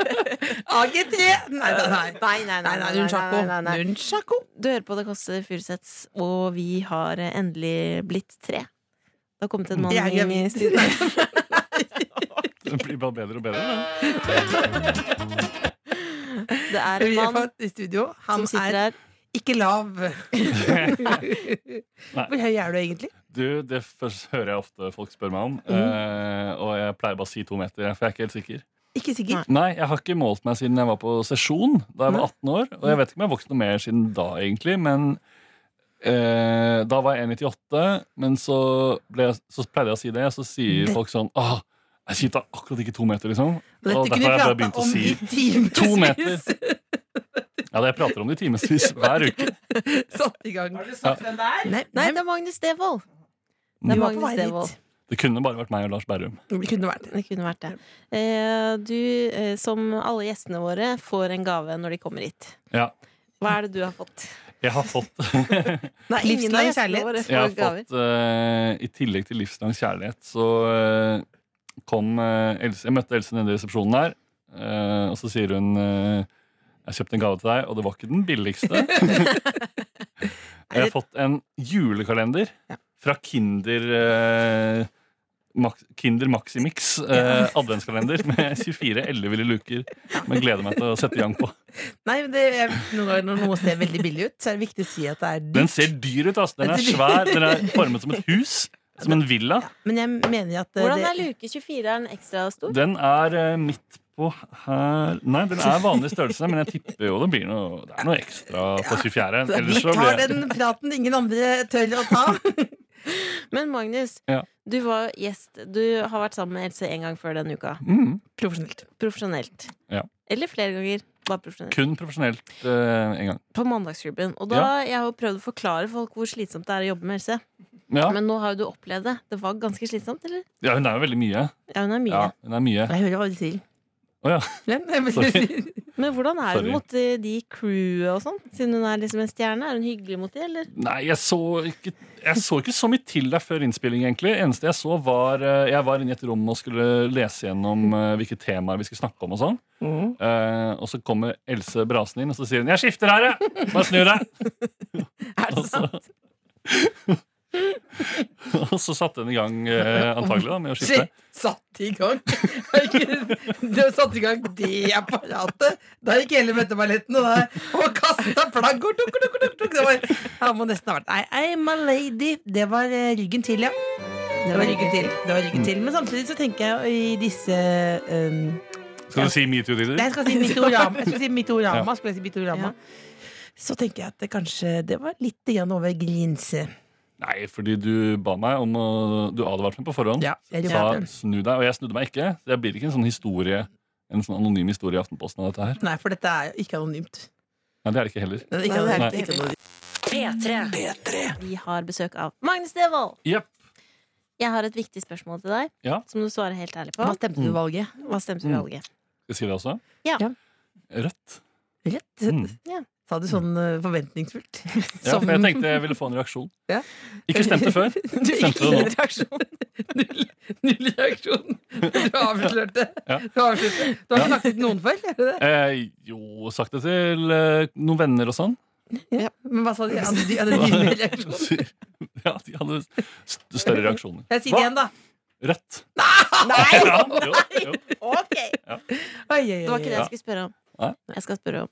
[SPEAKER 2] AG3! Nei, nei, nei.
[SPEAKER 3] Nei, nei, nei,
[SPEAKER 2] Nei, nei, Nunchako.
[SPEAKER 3] nei, nei, nei.
[SPEAKER 2] Nunchako.
[SPEAKER 3] Du hører på Det koster Furuseths, og vi har eh, endelig blitt tre. Det har kommet en mann
[SPEAKER 2] Jeg er
[SPEAKER 3] inn i
[SPEAKER 2] gravid.
[SPEAKER 3] studio.
[SPEAKER 6] Det blir bare bedre og bedre. da.
[SPEAKER 3] Det er
[SPEAKER 2] Vi
[SPEAKER 3] en
[SPEAKER 2] har
[SPEAKER 3] mann
[SPEAKER 2] fått i studio. Han
[SPEAKER 3] som sitter
[SPEAKER 2] er
[SPEAKER 3] her.
[SPEAKER 2] ikke lav. Hvor høy er du egentlig?
[SPEAKER 6] Du, Det først hører jeg ofte folk spør meg om. eh, og jeg pleier bare å si to meter, for jeg er ikke helt sikker.
[SPEAKER 2] Ikke sikker.
[SPEAKER 6] Nei, jeg har ikke målt meg siden jeg var på sesjon da jeg var 18 år. Og jeg vet ikke om jeg har vokst noe mer siden da, egentlig. Men Eh, da var jeg 1,98, men så, ble jeg, så pleide jeg å si det. Så sier
[SPEAKER 2] Det- folk
[SPEAKER 6] folk sånn Åh, jeg sitter akkurat ikke to meter, liksom.
[SPEAKER 2] Dette
[SPEAKER 6] Og
[SPEAKER 2] kunne
[SPEAKER 6] derfor har jeg bare
[SPEAKER 2] vi
[SPEAKER 6] begynt
[SPEAKER 2] prata
[SPEAKER 6] å
[SPEAKER 2] om
[SPEAKER 6] si
[SPEAKER 2] i timevis.
[SPEAKER 6] to meter. Ja, det jeg prater om det i timevis hver uke.
[SPEAKER 2] Satt i gang.
[SPEAKER 7] Har du sagt hvem det er?
[SPEAKER 2] Nei,
[SPEAKER 3] Nei, det er Magnus Devold.
[SPEAKER 2] du
[SPEAKER 3] Det er
[SPEAKER 2] var på
[SPEAKER 3] Magnus
[SPEAKER 2] vei
[SPEAKER 3] Devold.
[SPEAKER 2] dit.
[SPEAKER 6] Det kunne bare vært meg og Lars Berrum.
[SPEAKER 2] Det kunne vært
[SPEAKER 3] Det kunne vært det. Eh, Du, eh, som alle gjestene våre, får en gave når de kommer hit.
[SPEAKER 6] Ja,
[SPEAKER 3] Hva er det du har fått?
[SPEAKER 6] jeg har fått, jeg
[SPEAKER 2] Nei, ingen av
[SPEAKER 3] Livslang
[SPEAKER 2] gjestene våre.
[SPEAKER 3] kjærlighet.
[SPEAKER 6] har
[SPEAKER 3] får gaver.
[SPEAKER 6] fått eh, I tillegg til livslang kjærlighet, så eh, kom eh, Else Jeg møtte Else nede i resepsjonen der, eh, og så sier hun eh, Jeg kjøpte en gave til deg, og det var ikke den billigste. Jeg har fått en julekalender fra Kinder eh, Max, Kinder Maximix eh, adventskalender med 24 elleville luker. Men jeg gleder meg til å sette i gang på.
[SPEAKER 2] Nei, men det er, noen ganger når noe ser veldig billig ut, så er det viktig å si at det er dyrt.
[SPEAKER 6] Den ser dyr ut, altså. Den er svær. Den er formet som et hus. Som en villa.
[SPEAKER 2] Men jeg mener at eh,
[SPEAKER 3] Hvordan er
[SPEAKER 2] det,
[SPEAKER 3] luke 24? Er den ekstra stor?
[SPEAKER 6] Den er eh, midt på her Nei, den er vanlig størrelse, men jeg tipper jo det blir noe, det er noe ekstra på 24. Ellers så
[SPEAKER 2] Vi tar
[SPEAKER 6] blir jeg
[SPEAKER 2] den praten ingen andre tør å ta.
[SPEAKER 3] Men Magnus,
[SPEAKER 6] Ja.
[SPEAKER 3] du var gjest. Du har vært sammen med Else en gang før denne uka.
[SPEAKER 6] mm,
[SPEAKER 2] Profesjonelt.
[SPEAKER 3] Profesjonelt.
[SPEAKER 6] Ja.
[SPEAKER 3] Eller flere ganger. Bare profesjonelt.
[SPEAKER 6] kun profesjonelt eh, en gang.
[SPEAKER 3] På Mandagsklubben. Og da jeg har jo prøvd å forklare folk hvor slitsomt det er å jobbe med Else.
[SPEAKER 6] Ja,
[SPEAKER 3] Men nå har jo du opplevd det. Det var ganske slitsomt, eller?
[SPEAKER 6] ja hun er jo veldig mye.
[SPEAKER 3] Ja, hun er mye.
[SPEAKER 6] Ja, hun er mye.
[SPEAKER 2] Jeg hører hva du sier.
[SPEAKER 6] Å ja.
[SPEAKER 2] Men, jeg må
[SPEAKER 6] Sorry.
[SPEAKER 2] si-
[SPEAKER 3] Men hvordan er hun
[SPEAKER 6] Sorry.
[SPEAKER 3] mot eh, de crewet og sånn? Siden hun er liksom en stjerne. Er hun hyggelig mot de, eller?
[SPEAKER 6] Nei, jeg så ikke, jeg så, ikke så mye til deg før innspilling, egentlig. eneste jeg så, var eh, Jeg var inne i et rom og skulle lese gjennom eh, hvilke temaer vi skulle snakke om. Og sånn
[SPEAKER 2] Mm.
[SPEAKER 6] Eh, Og så kommer Else Brasen inn, og så sier hun 'Jeg skifter her, jeg! Bare snu deg!'
[SPEAKER 2] Er det sånn?
[SPEAKER 6] Og så-
[SPEAKER 2] sant?
[SPEAKER 6] og så satte hun i gang, eh, antagelig, da, med å skifte.
[SPEAKER 2] Shit, satt i gang! Herregud, Du satte i gang det apparatet! Da gikk hele møteballetten, og da og kasta plagg og tuk, tuk, tuk, tuk. Det var, Han må nesten ha vært Nei, nei, my lady. Det var eh, ryggen til, ja. Det var ryggen til. Det var ryggen til. Men samtidig så tenker jeg jo i disse um,
[SPEAKER 6] Skal du si metoo-tider?
[SPEAKER 2] Nei, jeg skal si Mitorama. Jeg skulle si Mitorama.
[SPEAKER 6] Ja.
[SPEAKER 2] Skulle jeg si Mitorama. Så tenker jeg at det kanskje det var litt grann over grense.
[SPEAKER 6] Nei, fordi du ba meg om å Du advarte meg på forhånd.
[SPEAKER 2] Ja, jeg
[SPEAKER 6] sa
[SPEAKER 2] gjorde det.
[SPEAKER 6] 'snu deg', og jeg snudde meg ikke. Så jeg blir ikke en sånn historie En sånn anonym historie i Aftenposten av dette her.
[SPEAKER 2] Nei, for dette er jo ikke anonymt.
[SPEAKER 6] Nei, det er det ikke heller.
[SPEAKER 2] Det er ikke
[SPEAKER 3] Nei, det er
[SPEAKER 2] anonymt.
[SPEAKER 3] ikke
[SPEAKER 2] Ikke anonymt.
[SPEAKER 4] P3.
[SPEAKER 3] Vi har besøk av Magnus Devold!
[SPEAKER 6] Jepp.
[SPEAKER 3] Jeg har et viktig spørsmål til deg,
[SPEAKER 6] Ja.
[SPEAKER 3] som du svarer helt ærlig på.
[SPEAKER 2] Hva stemte du valget?
[SPEAKER 3] Hva stemte du
[SPEAKER 6] Mm.
[SPEAKER 3] valget?
[SPEAKER 6] Skal jeg si det også?
[SPEAKER 3] Ja.
[SPEAKER 2] Ja.
[SPEAKER 6] Rødt.
[SPEAKER 2] Rett?
[SPEAKER 6] Mm.
[SPEAKER 2] Sa du sånn eh, forventningsfullt?
[SPEAKER 6] Ja,
[SPEAKER 2] Som-
[SPEAKER 6] for jeg tenkte jeg ville få en reaksjon.
[SPEAKER 2] Ja.
[SPEAKER 6] Ikke stemte før.
[SPEAKER 2] Du
[SPEAKER 6] Stemte
[SPEAKER 2] fikk
[SPEAKER 6] det nå?
[SPEAKER 2] null reaksjon. Null, null reaksjon. Du avslørte.
[SPEAKER 6] Ja.
[SPEAKER 2] Du, avslørte. du har ikke snakket til noen før? Er det det?
[SPEAKER 6] Eh, jo, sagt det til eh, noen venner og sånn.
[SPEAKER 2] Men hva sa de? Hadde de, hadde de null reaksjon?
[SPEAKER 6] ja, de hadde st større reaksjoner.
[SPEAKER 2] Jeg sier det igjen, da.
[SPEAKER 6] Rødt.
[SPEAKER 2] Nei!
[SPEAKER 6] Ja, jo, jo.
[SPEAKER 2] Oi, oi, oi,
[SPEAKER 3] Det var ikke det
[SPEAKER 6] Ja.
[SPEAKER 3] jeg skulle spørre om.
[SPEAKER 6] Nei.
[SPEAKER 3] Jeg skal spørre om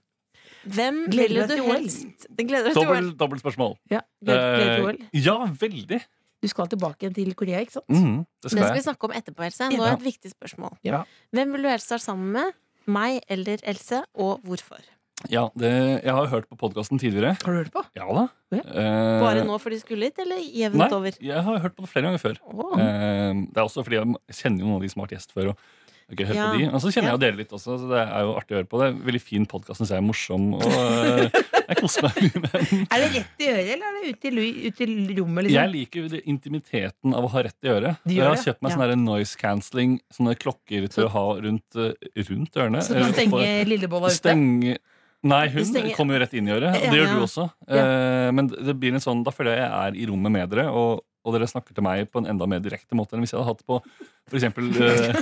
[SPEAKER 3] Hvem
[SPEAKER 2] Gleder
[SPEAKER 3] ville
[SPEAKER 2] du
[SPEAKER 3] du
[SPEAKER 2] deg til OL?
[SPEAKER 3] helst Gleder du deg til OL?
[SPEAKER 6] Dobbelt, dobbelt spørsmål.
[SPEAKER 2] Ja. Gleder du
[SPEAKER 6] Eh,
[SPEAKER 2] deg til OL?
[SPEAKER 6] ja, veldig.
[SPEAKER 2] Du skal tilbake igjen til Korea, ikke sant?
[SPEAKER 6] Mm, det
[SPEAKER 3] Det
[SPEAKER 6] skal
[SPEAKER 3] skal vi
[SPEAKER 6] jeg.
[SPEAKER 3] snakke om etterpå, Else. Nå
[SPEAKER 6] Ja.
[SPEAKER 3] er et viktig spørsmål.
[SPEAKER 2] Ja.
[SPEAKER 3] Hvem vil du helst være sammen med? Meg eller Else, og hvorfor?
[SPEAKER 6] Ja, det, jeg har hørt på podkasten tidligere.
[SPEAKER 2] Har du hørt på?
[SPEAKER 6] Ja da.
[SPEAKER 2] Ja.
[SPEAKER 6] Eh,
[SPEAKER 3] Bare nå for de skulle hit, eller jevnt
[SPEAKER 6] Nei,
[SPEAKER 3] over?
[SPEAKER 6] jeg har hørt på det flere ganger før.
[SPEAKER 3] Åh.
[SPEAKER 6] Eh, det er også fordi jeg kjenner jo noen av de som har vært gjest før. Og, jeg har ikke hørt
[SPEAKER 3] Ja.
[SPEAKER 6] på de. og så kjenner jeg jo dere litt også, så det er jo artig å høre på. Det er en Veldig fin podkast, syns jeg er morsom. Og eh, jeg koser meg mye med den.
[SPEAKER 2] Er det rett i øret, eller er det ute i, lu- ut i rommet?
[SPEAKER 6] Jeg
[SPEAKER 2] Liksom?
[SPEAKER 6] liker jo det- intimiteten av å ha rett i øret.
[SPEAKER 2] De
[SPEAKER 6] jeg
[SPEAKER 2] gjør
[SPEAKER 6] har
[SPEAKER 2] det,
[SPEAKER 6] kjøpt meg
[SPEAKER 2] ja.
[SPEAKER 6] sånne der noise cancelling, sånne klokker til å ha rundt, eh, rundt ørene.
[SPEAKER 2] Så du kan
[SPEAKER 6] eh,
[SPEAKER 2] stenge
[SPEAKER 6] oppå-
[SPEAKER 2] lillebolla ute?
[SPEAKER 6] stenge Nei, hun
[SPEAKER 3] Stenge-
[SPEAKER 6] kommer jo rett inn i øret. Og det
[SPEAKER 3] Ja,
[SPEAKER 6] gjør
[SPEAKER 3] ja.
[SPEAKER 6] du også. Eh, Men det blir en sånn, da føler jeg jeg er i rommet med dere, og, og dere snakker til meg på en enda mer direkte måte enn hvis jeg hadde hatt på for eksempel eh,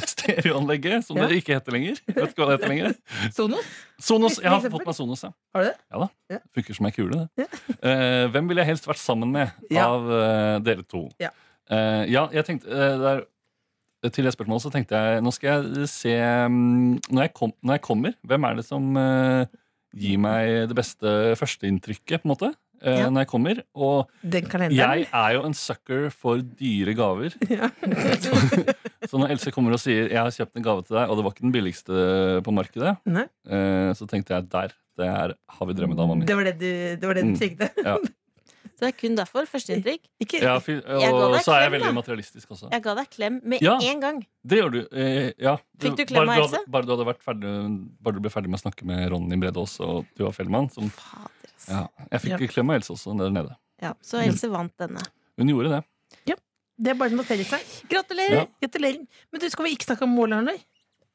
[SPEAKER 6] stereoanlegget, som
[SPEAKER 2] Ja.
[SPEAKER 6] det ikke heter lenger. Jeg Vet ikke hva det heter lenger.
[SPEAKER 2] Sonos?
[SPEAKER 6] Sonos, Jeg har
[SPEAKER 2] For eksempel?
[SPEAKER 6] fått meg Sonos, ja.
[SPEAKER 2] Har du det?
[SPEAKER 6] Ja da.
[SPEAKER 2] Ja.
[SPEAKER 6] Funker som ei kule, det. Eh, hvem ville jeg helst vært sammen med
[SPEAKER 2] Ja.
[SPEAKER 6] av eh, dere to?
[SPEAKER 2] Ja.
[SPEAKER 6] Eh, ja, jeg tenkte eh, der, Til det spørsmålet så tenkte jeg Nå skal jeg se mm, når, jeg kom, når jeg kommer, hvem er det som eh, gir meg det beste førsteinntrykket, på en måte? eh,
[SPEAKER 3] Ja.
[SPEAKER 6] Når jeg kommer. Og
[SPEAKER 2] Den kalenderen?
[SPEAKER 6] jeg er jo en sucker for dyre gaver. så når Else kommer og sier 'jeg har kjøpt en gave til deg', og det var ikke den billigste på markedet,
[SPEAKER 2] Nei.
[SPEAKER 6] eh, så tenkte jeg der. Det er 'Har vi drømmedama mi'.
[SPEAKER 2] Det var det du, det var det du
[SPEAKER 6] Mm.
[SPEAKER 2] trengte.
[SPEAKER 3] Så det er kun derfor. Førsteinntrykk.
[SPEAKER 2] Ikke
[SPEAKER 6] Ja, fy,
[SPEAKER 3] Jeg ga
[SPEAKER 6] og
[SPEAKER 3] deg
[SPEAKER 6] så er jeg
[SPEAKER 3] klem,
[SPEAKER 6] veldig
[SPEAKER 3] da.
[SPEAKER 6] materialistisk også.
[SPEAKER 3] Jeg ga deg klem med
[SPEAKER 6] Ja.
[SPEAKER 3] en gang.
[SPEAKER 6] Det gjør du. Eh, ja.
[SPEAKER 3] Fikk du klem
[SPEAKER 6] bare,
[SPEAKER 3] av
[SPEAKER 6] du
[SPEAKER 3] Else?
[SPEAKER 6] hadde, bare du hadde vært ferdig Bare du ble ferdig med å snakke med Ronny Bredås og Tuva Fellmann. Som,
[SPEAKER 3] Fader, ass.
[SPEAKER 6] ja. Jeg fikk klem av Else også der nede.
[SPEAKER 3] Ja, så
[SPEAKER 6] Mm.
[SPEAKER 3] Else vant denne.
[SPEAKER 6] Hun gjorde det.
[SPEAKER 2] Det er bare å notere seg.
[SPEAKER 6] Ja.
[SPEAKER 2] Gratulerer. Gratulerer. Men du, skal vi ikke snakke om målerne?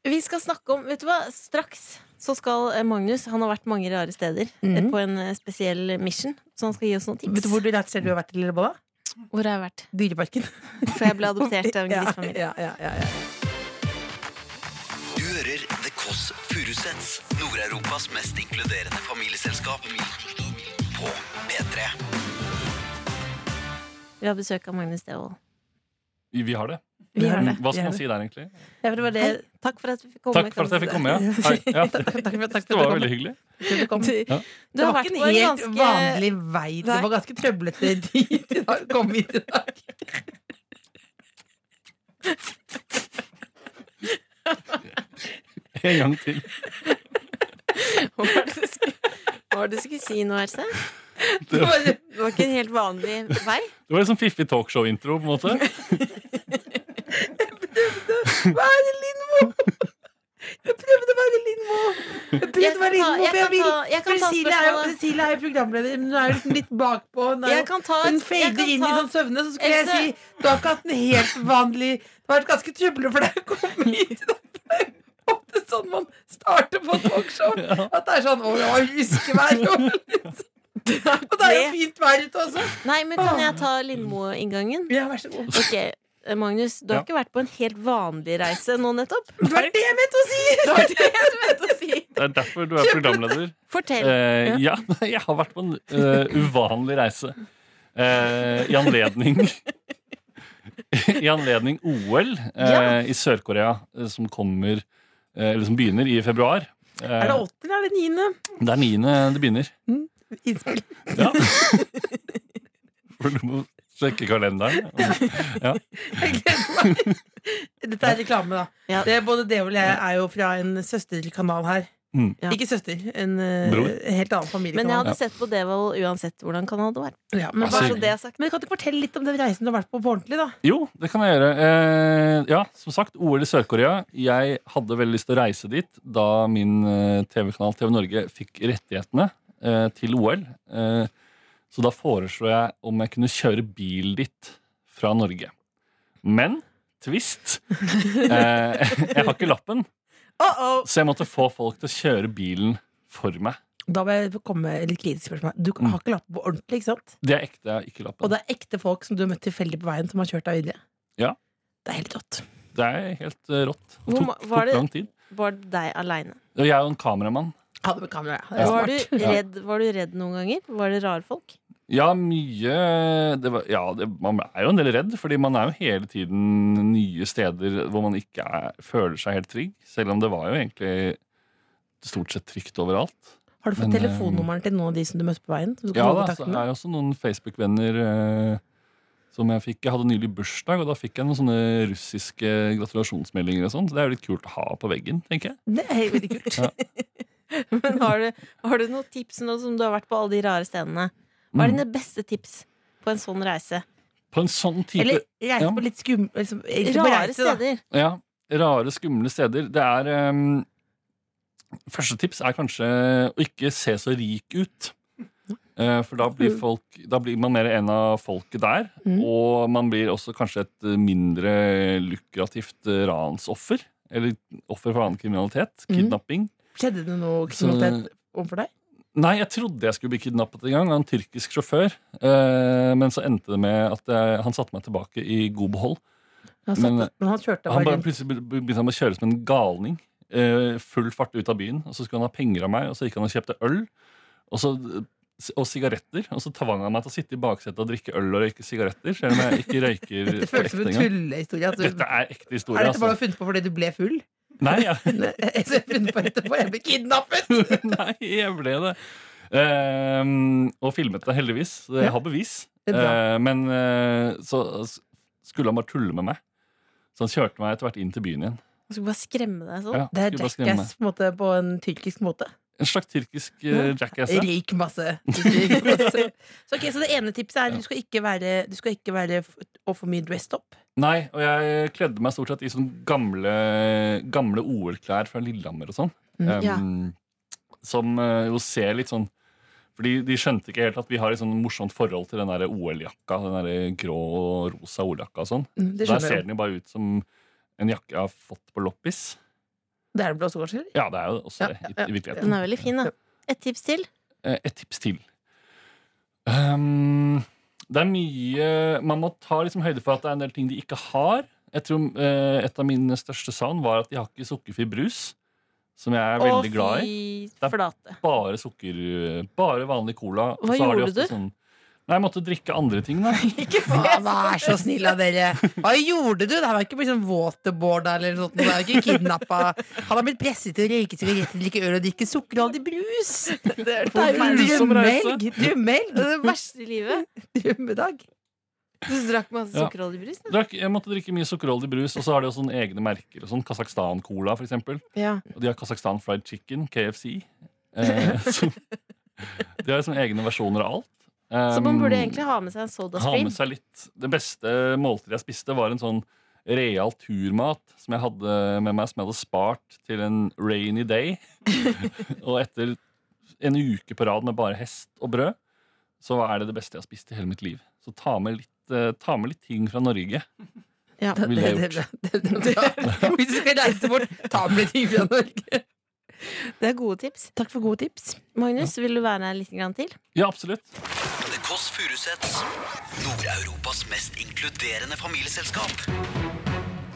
[SPEAKER 3] Vi skal snakke om Vet du hva, straks så skal eh, Magnus Han har vært mange rare steder
[SPEAKER 2] Mhm.
[SPEAKER 3] eh, på en eh, spesiell mission, så han skal gi oss noen tips.
[SPEAKER 2] Vet du hvor du rett ser du har vært i Lillebolla?
[SPEAKER 3] Hvor har jeg vært?
[SPEAKER 2] Dyreparken.
[SPEAKER 3] For jeg ble adoptert av en
[SPEAKER 2] Ja,
[SPEAKER 3] grisfamilie.
[SPEAKER 2] ja, ja, ja, ja.
[SPEAKER 1] Du hører The Kåss Furuseths, Nord-Europas mest inkluderende familieselskap. På P3.
[SPEAKER 3] Vi har besøk av Magnus Devold.
[SPEAKER 6] Vi, vi har det.
[SPEAKER 3] Vi har det.
[SPEAKER 6] Hva skal man si der, egentlig?
[SPEAKER 2] Ja, for det var det.
[SPEAKER 3] Hei, takk for at vi fikk komme.
[SPEAKER 6] Takk for at jeg fikk komme. Ja. Hei. Ja.
[SPEAKER 2] Takk, takk, for- takk for at
[SPEAKER 6] Det var
[SPEAKER 2] du kom.
[SPEAKER 6] veldig hyggelig.
[SPEAKER 2] Du kom.
[SPEAKER 3] Du,
[SPEAKER 6] Ja.
[SPEAKER 3] du
[SPEAKER 2] det
[SPEAKER 3] har
[SPEAKER 2] var ikke
[SPEAKER 3] vært
[SPEAKER 2] en
[SPEAKER 3] på en
[SPEAKER 2] helt
[SPEAKER 3] ganske
[SPEAKER 2] vanlig vei. Det
[SPEAKER 3] Nei.
[SPEAKER 2] var ganske trøblete dit i dag. Kom hit i dag.
[SPEAKER 6] En gang til.
[SPEAKER 3] Hva var det du skulle- hva var det du skulle si nå, Else?
[SPEAKER 6] Det var,
[SPEAKER 2] Bare-
[SPEAKER 3] Det var ikke en helt vanlig vei.
[SPEAKER 6] det var en sånn fiffig talkshow-intro, på en måte.
[SPEAKER 2] Hva er det, Lindmo? Jeg prøvde å være Lindmo. Jeg prøvde
[SPEAKER 3] Jeg
[SPEAKER 2] å
[SPEAKER 3] kan
[SPEAKER 2] være
[SPEAKER 3] ta-
[SPEAKER 2] Lindmo, for
[SPEAKER 3] jeg
[SPEAKER 2] jeg
[SPEAKER 3] kan
[SPEAKER 2] vil
[SPEAKER 3] ta- jeg kan ta
[SPEAKER 2] Cecilie er jo
[SPEAKER 3] spørsmålet.
[SPEAKER 2] Cecilie er jo programleder, men hun er jo liksom litt bakpå. Hun er jo
[SPEAKER 3] Jeg kan ta
[SPEAKER 2] Hun
[SPEAKER 3] et- jeg
[SPEAKER 2] fader
[SPEAKER 3] kan
[SPEAKER 2] inn i
[SPEAKER 3] ta-
[SPEAKER 2] sånn søvne, så skulle jeg
[SPEAKER 3] Else-
[SPEAKER 2] si Du har ikke hatt en helt vanlig Det har vært ganske trøblete for deg å komme hit i dag. Det er jo ofte sånn man starter på talkshow. At det er sånn Å, det var ruskevær. Og litt- sånn. Og det er jo fint vær ute også.
[SPEAKER 3] Nei, men kan jeg ta Lindmo-inngangen?
[SPEAKER 2] Ja, vær så god.
[SPEAKER 3] Ok, eh, Magnus, du har
[SPEAKER 6] Ja.
[SPEAKER 3] ikke vært på en helt vanlig reise nå nettopp?
[SPEAKER 2] Det var det jeg mente å si! Det var det jeg mente å si.
[SPEAKER 6] Det er derfor du er programleder.
[SPEAKER 3] Fortell.
[SPEAKER 6] Eh, ja, nei, jeg har vært på en eh, uvanlig reise. Eh, I anledning I anledning OL eh,
[SPEAKER 3] Ja.
[SPEAKER 6] i Sør-Korea, eh, som kommer eh, Eller som begynner i februar. Eh,
[SPEAKER 2] Er det åttende eller er det niende?
[SPEAKER 6] det er niende det begynner.
[SPEAKER 2] Innspill.
[SPEAKER 6] Ja. For du må sjekke kalenderen.
[SPEAKER 2] Jeg gleder meg. Dette er reklame, da.
[SPEAKER 3] Ja.
[SPEAKER 2] Det er både det og jeg er jo fra en søsterkanal her.
[SPEAKER 6] Mm.
[SPEAKER 3] Ja.
[SPEAKER 2] Ikke søster, en eh,
[SPEAKER 6] Bror.
[SPEAKER 2] helt annen
[SPEAKER 3] Men jeg
[SPEAKER 2] familiekanal.
[SPEAKER 3] hadde sett på Devold uansett hvordan kanal det var.
[SPEAKER 2] Ja, men,
[SPEAKER 6] Altså,
[SPEAKER 3] Bare
[SPEAKER 2] hva-
[SPEAKER 3] så det er sagt.
[SPEAKER 2] men kan du ikke fortelle litt om den reisen du har vært på på ordentlig, da?
[SPEAKER 6] Jo, det kan jeg gjøre. Eh, ja, som sagt, OL i Sør-Korea. Jeg hadde veldig lyst til å reise dit da min eh, TV-kanal TV Norge fikk rettighetene eh, til OL. Eh, så da foreslo jeg om jeg kunne kjøre bil dit fra Norge. Men twist eh, Jeg har ikke lappen, så jeg måtte få folk til å kjøre bilen for meg.
[SPEAKER 2] Da vil jeg komme med litt kritisk spørsmål. Du
[SPEAKER 6] Mm.
[SPEAKER 2] har ikke lappen på ordentlig, ikke sant?
[SPEAKER 6] Det er ekte, jeg har ikke
[SPEAKER 2] Og
[SPEAKER 6] lappen. Det,
[SPEAKER 2] det er ekte folk som du har møtt tilfeldig på veien, som har kjørt deg videre?
[SPEAKER 6] Ja.
[SPEAKER 2] Det er helt rått.
[SPEAKER 6] er helt eh, rått. Det
[SPEAKER 3] Hvor
[SPEAKER 6] tok,
[SPEAKER 3] ma- var
[SPEAKER 6] tok
[SPEAKER 3] det-
[SPEAKER 6] lang tid.
[SPEAKER 3] Var det deg aleine?
[SPEAKER 6] Og jeg er jo en kameramann.
[SPEAKER 2] Ha det med kamera. ja. Det er
[SPEAKER 3] Var,
[SPEAKER 2] smart.
[SPEAKER 3] du redd- var du redd noen ganger? Var det rare folk?
[SPEAKER 6] Ja, mye eh, det var, ja, det, Man er jo en del redd, fordi man er jo hele tiden nye steder hvor man ikke er, føler seg helt trygg. Selv om det var jo egentlig stort sett trygt overalt.
[SPEAKER 2] Har du fått
[SPEAKER 6] Men, eh,
[SPEAKER 2] telefonnummeren til noen av de som du møtte på veien? Som du kan
[SPEAKER 6] Ja
[SPEAKER 2] holde
[SPEAKER 6] da, så
[SPEAKER 2] kontakten med?
[SPEAKER 6] er jeg også noen Facebook-venner eh, som jeg fikk. Jeg hadde nylig bursdag, og da fikk jeg noen sånne russiske gratulasjonsmeldinger og sånn. Så det er jo litt kult å ha på veggen, tenker jeg.
[SPEAKER 2] Det er jo veldig kult.
[SPEAKER 3] Men har du, har du noen tips nå som du har vært på alle de rare stedene? Hva er
[SPEAKER 6] Mm.
[SPEAKER 3] dine beste tips på en sånn reise?
[SPEAKER 6] På en sånn type
[SPEAKER 2] Eller reise
[SPEAKER 6] Ja.
[SPEAKER 2] på litt skum... Liksom, egentlig på
[SPEAKER 3] Rare
[SPEAKER 2] reise, da.
[SPEAKER 3] steder.
[SPEAKER 6] Ja, rare, skumle steder. Det er ehm, Første tips er kanskje å ikke se så rik ut. Eh, for da blir, folk, da blir man mer en av folket der.
[SPEAKER 2] Mm.
[SPEAKER 6] Og man blir også kanskje et eh, mindre lukrativt eh, ransoffer. Eller offer for annen kriminalitet.
[SPEAKER 2] Mm.
[SPEAKER 6] Kidnapping.
[SPEAKER 2] Skjedde det noe
[SPEAKER 6] Så-
[SPEAKER 2] kriminalitet overfor deg?
[SPEAKER 6] Nei, jeg trodde jeg skulle bli kidnappet en gang av en tyrkisk sjåfør. Eh, men så endte det med at jeg, han satte meg tilbake i god behold.
[SPEAKER 2] Han satt,
[SPEAKER 6] Men-
[SPEAKER 2] men, eh, han kjørte deg
[SPEAKER 6] Han
[SPEAKER 2] bare
[SPEAKER 6] bare
[SPEAKER 2] rundt.
[SPEAKER 6] plutselig be- be- begynte han å kjøre som en galning. eh, full fart ut av byen. Og så skulle han ha penger av meg, og så gikk han og kjøpte øl. Og så og sigaretter, og så tvang han meg til å sitte i baksetet og drikke øl og røyke sigaretter. Selv om jeg ikke røyker
[SPEAKER 2] Det
[SPEAKER 6] på
[SPEAKER 2] føltes som
[SPEAKER 6] ekte
[SPEAKER 2] en
[SPEAKER 6] engang.
[SPEAKER 2] tullehistorie. Altså,
[SPEAKER 6] Dette er ekte historie,
[SPEAKER 2] er dette bare
[SPEAKER 6] altså.
[SPEAKER 2] funnet på fordi du ble full?
[SPEAKER 6] Nei, ja.
[SPEAKER 2] Nei, Så jeg funnet på etterpå, jeg ble kidnappet!
[SPEAKER 6] Nei, jeg ble det. Ehm, og filmet det, heldigvis. Så Jeg har bevis.
[SPEAKER 2] Det er bra.
[SPEAKER 6] Eh, men eh, så s- skulle han bare tulle med meg. Så han kjørte meg etter hvert inn til byen igjen.
[SPEAKER 3] Jeg skulle bare skremme deg sånn.
[SPEAKER 6] Ja,
[SPEAKER 2] Det er
[SPEAKER 6] skulle bare skremme meg.
[SPEAKER 2] Jackass på, en måte, på en tyrkisk måte.
[SPEAKER 6] En slags tyrkisk eh, jackass. ja.
[SPEAKER 2] Røyk masse. Røyk masse. Så, ok, så det ene tipset er du skal ikke være, du skal ikke være f- og for mye dressed up.
[SPEAKER 6] Nei, og jeg kledde meg stort sett i sånn gamle, gamle OL-klær fra Lillehammer og sånn.
[SPEAKER 3] Mm, ja.
[SPEAKER 6] Em, Som eh, jo ser litt sånn Fordi de skjønte ikke helt at vi har et sånn morsomt forhold til den der OL-jakka. Den der grå og rosa OL-jakka og sånn.
[SPEAKER 2] Mm, Det
[SPEAKER 6] Der
[SPEAKER 2] skjønner
[SPEAKER 6] ser
[SPEAKER 2] jeg.
[SPEAKER 6] den jo bare ut som en jakke jeg har fått på loppis.
[SPEAKER 2] Det er det blå solskjell?
[SPEAKER 6] Ja, det er jo også
[SPEAKER 2] Ja,
[SPEAKER 6] det. i-
[SPEAKER 2] ja, ja.
[SPEAKER 6] I virkeligheten.
[SPEAKER 3] Den er veldig fin, da. Et tips til?
[SPEAKER 6] Eh, Et tips til. Ehm, det er mye Man må ta liksom høyde for at det er en del ting de ikke har. Jeg tror eh, Et av mine største savn var at de har ikke sukkerfri brus. Som jeg er veldig glad i.
[SPEAKER 3] Og fy flate.
[SPEAKER 6] Bare sukker, eh, bare vanlig cola.
[SPEAKER 3] Hva
[SPEAKER 6] har de
[SPEAKER 3] gjorde
[SPEAKER 6] ofte
[SPEAKER 3] du?
[SPEAKER 6] Sånn, nei, Jeg måtte drikke andre ting, da.
[SPEAKER 2] Hva, vær så snill av dere! Hva gjorde du? Det her var ikke blitt sånn waterboarda eller noe sånt. Det er ikke kidnappa. Han har blitt presset til å røyke sigaretter, drikke øl og drikke sukkerholdig brus! Det er
[SPEAKER 6] grusom reise.
[SPEAKER 2] drømmehelg! Drømmehelg!
[SPEAKER 3] Det verste i livet.
[SPEAKER 2] Drømmedag!
[SPEAKER 3] Du drakk masse
[SPEAKER 6] Ja.
[SPEAKER 3] sukkerholdig brus. da.
[SPEAKER 6] Drakk, jeg måtte drikke mye sukkerholdig brus, og så har de også sånne egne merker. og Sånn Kasakhstan-cola, for eksempel.
[SPEAKER 3] Ja.
[SPEAKER 6] Og de har Kasakhstan fried chicken, KFC. Eh, så, de har liksom egne versjoner av alt.
[SPEAKER 3] Så man burde
[SPEAKER 6] Ehm,
[SPEAKER 3] egentlig ha med seg en soda
[SPEAKER 6] ha
[SPEAKER 3] stream.
[SPEAKER 6] med seg litt. Det beste måltidet jeg spiste, var en sånn real turmat som jeg hadde med meg, som jeg hadde spart til en rainy day. og etter en uke på rad med bare hest og brød, så er det det beste jeg har spist i hele mitt liv. Så ta med litt, eh, ta med litt ting fra Norge.
[SPEAKER 3] Ja.
[SPEAKER 6] Det ville jeg gjort.
[SPEAKER 2] Det- det- det- det- Hvis du skal reise bort, ta med ting fra Norge.
[SPEAKER 3] Det er gode tips.
[SPEAKER 2] Takk for gode tips.
[SPEAKER 3] Magnus, vil du være her litt grann til?
[SPEAKER 6] Ja, absolutt.
[SPEAKER 1] The Kåss Furuseths. Nord-Europas mest inkluderende familieselskap.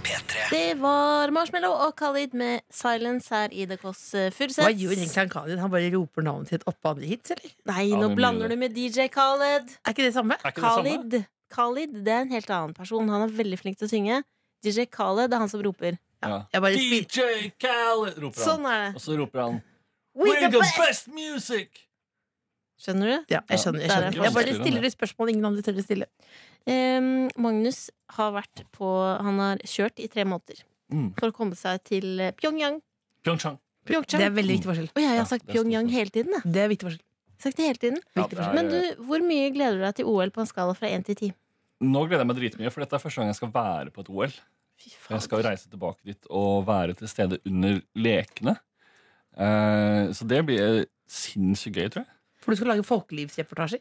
[SPEAKER 1] P3.
[SPEAKER 3] Det var Marshmallow og Khalid med Silence her i The Kåss eh, Furuseths.
[SPEAKER 2] Hva gjør egentlig han Khalid? Han bare roper navnet sitt oppå andre hits, eller?
[SPEAKER 3] Nei,
[SPEAKER 6] Ja,
[SPEAKER 3] nå
[SPEAKER 6] det er mye
[SPEAKER 3] blander
[SPEAKER 6] det.
[SPEAKER 3] du med DJ Khaled.
[SPEAKER 2] Er ikke det samme?
[SPEAKER 6] Er ikke det samme?
[SPEAKER 3] Khalid. Khalid det er en helt annen person. Han er veldig flink til å synge. DJ Khaled det er han som roper.
[SPEAKER 6] Ja.
[SPEAKER 2] Jeg bare spil-
[SPEAKER 6] DJ Khaled roper han.
[SPEAKER 3] Sånn er det.
[SPEAKER 6] Og så roper han
[SPEAKER 3] We
[SPEAKER 6] We're the best music!
[SPEAKER 3] Skjønner du?
[SPEAKER 2] ja, jeg skjønner. Jeg,
[SPEAKER 3] Ja, der
[SPEAKER 2] skjønner.
[SPEAKER 3] er
[SPEAKER 2] jeg bare
[SPEAKER 6] forskjellen,
[SPEAKER 2] stiller et spørsmål ingen andre tør å stille.
[SPEAKER 3] Em, Magnus har vært på Han har kjørt i tre måneder
[SPEAKER 6] Mm.
[SPEAKER 3] for å komme seg til eh, Pyongyang.
[SPEAKER 6] Pyeongchang.
[SPEAKER 2] Det er
[SPEAKER 3] Pyeongchang.
[SPEAKER 2] veldig viktig forskjell.
[SPEAKER 3] Og jeg
[SPEAKER 6] Ja,
[SPEAKER 3] har sagt
[SPEAKER 6] det er stor
[SPEAKER 3] Pyongyang
[SPEAKER 6] forskjell.
[SPEAKER 3] hele tiden. Jeg.
[SPEAKER 2] Det er viktig forskjell.
[SPEAKER 3] Sagt det hele tiden.
[SPEAKER 6] Ja, det er-
[SPEAKER 3] Men du, hvor mye gleder du deg til OL på en skala fra 1 til 10?
[SPEAKER 6] Nå gleder jeg meg dritmye, for dette er første gang jeg skal være på et OL.
[SPEAKER 3] Fy
[SPEAKER 6] For jeg skal jo reise tilbake dit og være til stede under lekene. Eh, så det blir sinnssykt gøy, tror jeg.
[SPEAKER 2] For du skal lage folkelivsreportasjer.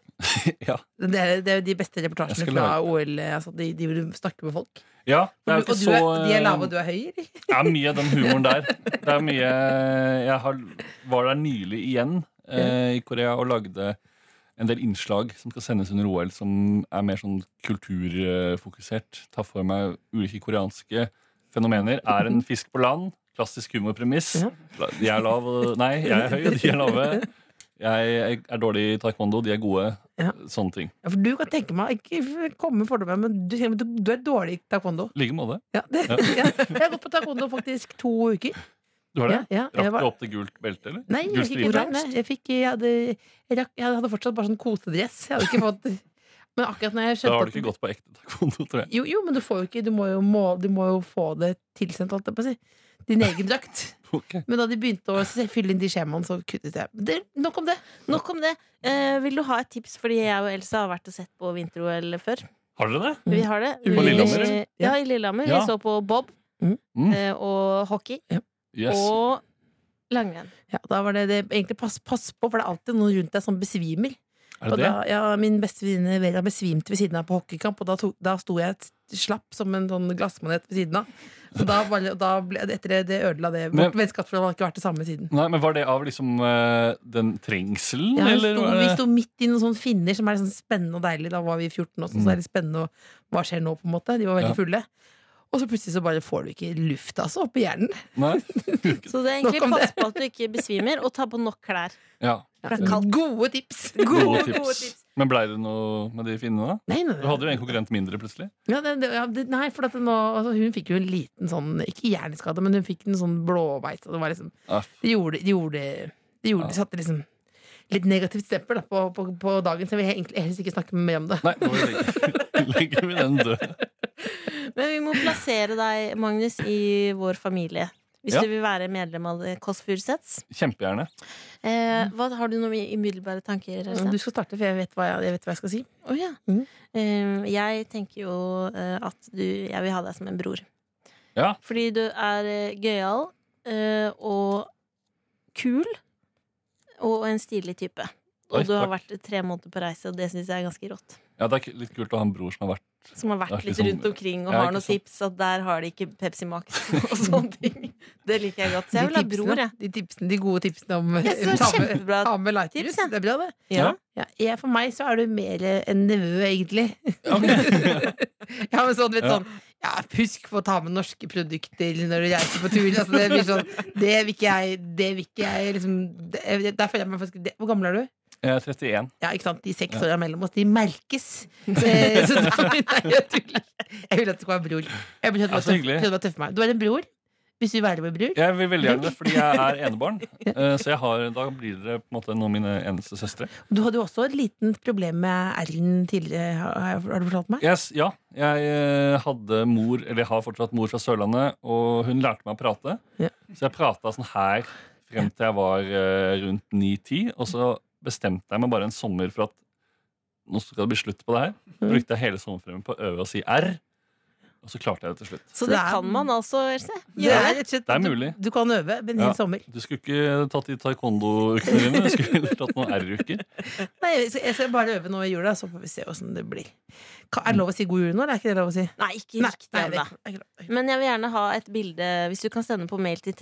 [SPEAKER 6] Ja,
[SPEAKER 2] Det er, det er jo de beste
[SPEAKER 6] Jeg
[SPEAKER 2] reportasjene
[SPEAKER 6] skal
[SPEAKER 2] fra OL. Altså, de, de hvor du snakker med folk.
[SPEAKER 6] ja det er
[SPEAKER 2] Og du,
[SPEAKER 6] jo ikke
[SPEAKER 2] og du
[SPEAKER 6] så
[SPEAKER 2] er, de er
[SPEAKER 6] eh,
[SPEAKER 2] lave, og du er høy? eller?
[SPEAKER 6] Det er mye av den humoren der. Det er mye Jeg har, var der nylig igjen eh, i Korea og lagde en del innslag som skal sendes under OL, som er mer sånn kulturfokusert. Ta for meg ulike koreanske fenomener. Er en fisk på land? Klassisk humorpremiss. De er lav og Nei, jeg er høy, og de er lave. Jeg er dårlig i taekwondo, de er gode.
[SPEAKER 2] Ja.
[SPEAKER 6] Sånne ting.
[SPEAKER 2] Ja, for du kan tenke meg Ikke komme med fordommer, men du, du, du er dårlig i taekwondo.
[SPEAKER 6] I like måte.
[SPEAKER 2] Ja, det, ja. Jeg har gått på taekwondo faktisk to uker.
[SPEAKER 6] Du har det?
[SPEAKER 2] Ja, ja, jeg
[SPEAKER 6] Rakk
[SPEAKER 2] var,
[SPEAKER 6] du opp til gult belte, eller?
[SPEAKER 2] Nei, jeg
[SPEAKER 6] Gul
[SPEAKER 2] fikk
[SPEAKER 6] stripe?
[SPEAKER 2] oransje. Jeg, fikk, jeg, hadde, jeg, rakk, jeg hadde fortsatt bare sånn kosedress. Jeg hadde ikke fått Men akkurat når jeg
[SPEAKER 6] Da
[SPEAKER 2] skjønte
[SPEAKER 6] har du
[SPEAKER 2] at-
[SPEAKER 6] ikke gått på ekte taekwondo, tror jeg.
[SPEAKER 2] Jo, jo, men du får jo ikke Du må jo, må, du må jo få det tilsendt, holdt jeg på å si. Din egen drakt.
[SPEAKER 6] Ok.
[SPEAKER 2] Men da de begynte å se- fylle inn de skjemaene, så kuttet jeg. Det, nok om det.
[SPEAKER 3] Nok om det. Eh, vil du ha et tips? Fordi jeg og Elsa har vært og sett på vinter-OL før.
[SPEAKER 6] Har dere det?
[SPEAKER 3] Vi har det.
[SPEAKER 2] På
[SPEAKER 3] Vi-
[SPEAKER 6] Lillehammer,
[SPEAKER 2] eller?
[SPEAKER 3] Ja, i Lillehammer.
[SPEAKER 6] Ja.
[SPEAKER 3] Vi så på bob
[SPEAKER 2] Mm.
[SPEAKER 6] Mm.
[SPEAKER 3] eh, og hockey
[SPEAKER 6] Yes.
[SPEAKER 3] og langrenn.
[SPEAKER 2] Ja, da var det, det egentlig pass, pass på, for det er alltid noen rundt deg som besvimer.
[SPEAKER 6] Er
[SPEAKER 2] Og
[SPEAKER 6] det det?
[SPEAKER 2] da, ja, min beste venninne Vera besvimte ved siden av på hockeykamp, og da, tok, da sto jeg et- slapp som en sånn glassmanet ved siden av. Så da, var det- da ble, etter det, det ødela det
[SPEAKER 6] Men-
[SPEAKER 2] vårt vennskap, for det har ikke vært det samme siden.
[SPEAKER 6] Nei, men Var det av liksom eh, den trengselen,
[SPEAKER 2] Ja, vi,
[SPEAKER 6] eller?
[SPEAKER 2] sto,
[SPEAKER 6] var
[SPEAKER 2] vi
[SPEAKER 6] det-
[SPEAKER 2] sto midt i noen sånne finner som er sånn spennende og deilig. Da var vi 14 også, så det er litt spennende og hva skjer nå, på en måte. De var
[SPEAKER 6] Mm. Ja.
[SPEAKER 2] veldig fulle. Og så plutselig så bare får du ikke luft altså, oppi hjernen.
[SPEAKER 6] Nei?
[SPEAKER 3] Så det er egentlig
[SPEAKER 2] Nok om
[SPEAKER 3] pass på at du ikke besvimer, og ta på nok klær.
[SPEAKER 6] Ja. Eh,
[SPEAKER 3] For det er kaldt.
[SPEAKER 2] Gode tips!
[SPEAKER 6] Gode
[SPEAKER 3] Gode
[SPEAKER 6] tips.
[SPEAKER 3] tips.
[SPEAKER 6] Men blei det noe med de finnene, da?
[SPEAKER 2] Nei, nei,
[SPEAKER 6] Du
[SPEAKER 2] nei.
[SPEAKER 6] hadde jo en konkurrent mindre, plutselig.
[SPEAKER 2] Ja, det, det, ja, det, nei, for at det nå, altså, hun fikk jo en liten sånn Ikke hjerneskade, men hun fikk en sånn blåveis. og Det var liksom
[SPEAKER 6] Aff.
[SPEAKER 2] Det gjorde Det gjorde, det gjorde,
[SPEAKER 6] Ja.
[SPEAKER 2] det satte liksom litt negativt stempel da, på, på, på dagen, så jeg vil egentlig helst ikke snakke mer om det.
[SPEAKER 6] Nei, nå legger- legger vi den død.
[SPEAKER 3] Men vi må plassere deg, Magnus, i vår familie. Hvis
[SPEAKER 6] Ja.
[SPEAKER 3] du vil være medlem av det Kåss Furuseths.
[SPEAKER 6] Kjempegjerne.
[SPEAKER 3] Eh, hva- har du noen umiddelbare tanker? Øystein?
[SPEAKER 2] Du skal starte, for jeg vet hva jeg, jeg, vet hva jeg skal si.
[SPEAKER 3] Å ja.
[SPEAKER 2] Mhm.
[SPEAKER 3] Eh, jeg tenker jo eh, at du Jeg vil ha deg som en bror.
[SPEAKER 6] Ja.
[SPEAKER 3] Fordi du er eh, gøyal eh, og kul og en stilig type. Og
[SPEAKER 6] Oi,
[SPEAKER 3] du har
[SPEAKER 6] takk.
[SPEAKER 3] vært tre måneder på reise, og det syns jeg er ganske rått.
[SPEAKER 6] Ja, Det er k- litt kult å ha en bror som har vært
[SPEAKER 3] Som har vært
[SPEAKER 6] Det er
[SPEAKER 3] litt
[SPEAKER 6] liksom-
[SPEAKER 3] rundt omkring og
[SPEAKER 6] Ja,
[SPEAKER 3] har
[SPEAKER 6] ikke sånn-
[SPEAKER 3] noen
[SPEAKER 6] sant.
[SPEAKER 3] tips at der har de ikke Pepsi Max og sånne ting. Det liker jeg godt. Så jeg vil ha
[SPEAKER 2] tipsene,
[SPEAKER 3] bror, jeg.
[SPEAKER 2] De, tipsene, de gode tipsene om
[SPEAKER 3] Jeg synes det
[SPEAKER 2] ta
[SPEAKER 3] var
[SPEAKER 2] med-
[SPEAKER 3] kjempebra
[SPEAKER 2] ta med lightjus.
[SPEAKER 3] tips, jeg.
[SPEAKER 2] Det er bra, det.
[SPEAKER 3] Ja.
[SPEAKER 2] Ja, jeg, for meg så er du mer en nevø, egentlig. ja, men sånn, vet
[SPEAKER 6] Ja.
[SPEAKER 2] sånn Ja, husk på å ta med norske produkter når du reiser på tur. Altså, det blir sånn Det vil ikke jeg Det vil ikke jeg liksom det, Der føler jeg meg faktisk det, Hvor gammel er du?
[SPEAKER 6] Jeg er 31.
[SPEAKER 2] Ja, ikke sant? De seks åra mellom oss, de merkes. Eh, så da nei, jeg tuller. Jeg vil at du skal være bror. Jeg prøvde
[SPEAKER 6] Ja,
[SPEAKER 2] å
[SPEAKER 6] så
[SPEAKER 2] tøffe,
[SPEAKER 6] hyggelig.
[SPEAKER 2] prøvde å tøffe meg. Du er en bror. Hvis du vil være vår bror.
[SPEAKER 6] Jeg vil veldig gjerne det, fordi jeg er enebarn. Eh, Så jeg har, da blir dere på en måte noen av mine eneste søstre.
[SPEAKER 2] Du hadde jo også et liten problem med R-en tidligere, har, jeg- har du fortalt meg?
[SPEAKER 6] Yes, ja, jeg eh, hadde mor, eller jeg har fortsatt mor fra Sørlandet, og hun lærte meg å prate.
[SPEAKER 2] Ja.
[SPEAKER 6] Så jeg prata sånn her frem til jeg var eh, rundt 9-10, og så bestemte jeg meg bare en sommer for at nå skal det bli slutt på det her. Så brukte jeg hele sommerferien på å øve å si R, og så klarte jeg det til slutt.
[SPEAKER 3] Så det kan man altså, Else.
[SPEAKER 2] Det er,
[SPEAKER 3] Gjøre.
[SPEAKER 2] rett og slett,
[SPEAKER 6] Det er mulig.
[SPEAKER 2] Du, du kan øve, men i
[SPEAKER 6] Ja.
[SPEAKER 2] sommer.
[SPEAKER 6] Du skulle ikke tatt de taekwondo-ukene dine, du skulle tatt noen R-uker.
[SPEAKER 2] Nei, jeg skal, jeg skal bare øve nå i jula, så får vi se åssen det blir. Ka- Er det lov å si god jul nå, eller er ikke det lov å si?
[SPEAKER 3] Nei, ikke riktig.
[SPEAKER 2] nei,
[SPEAKER 3] ennå.
[SPEAKER 2] det er ikke lov, det er ikke lov.
[SPEAKER 3] Men jeg vil gjerne ha et bilde Hvis du kan sende på mail til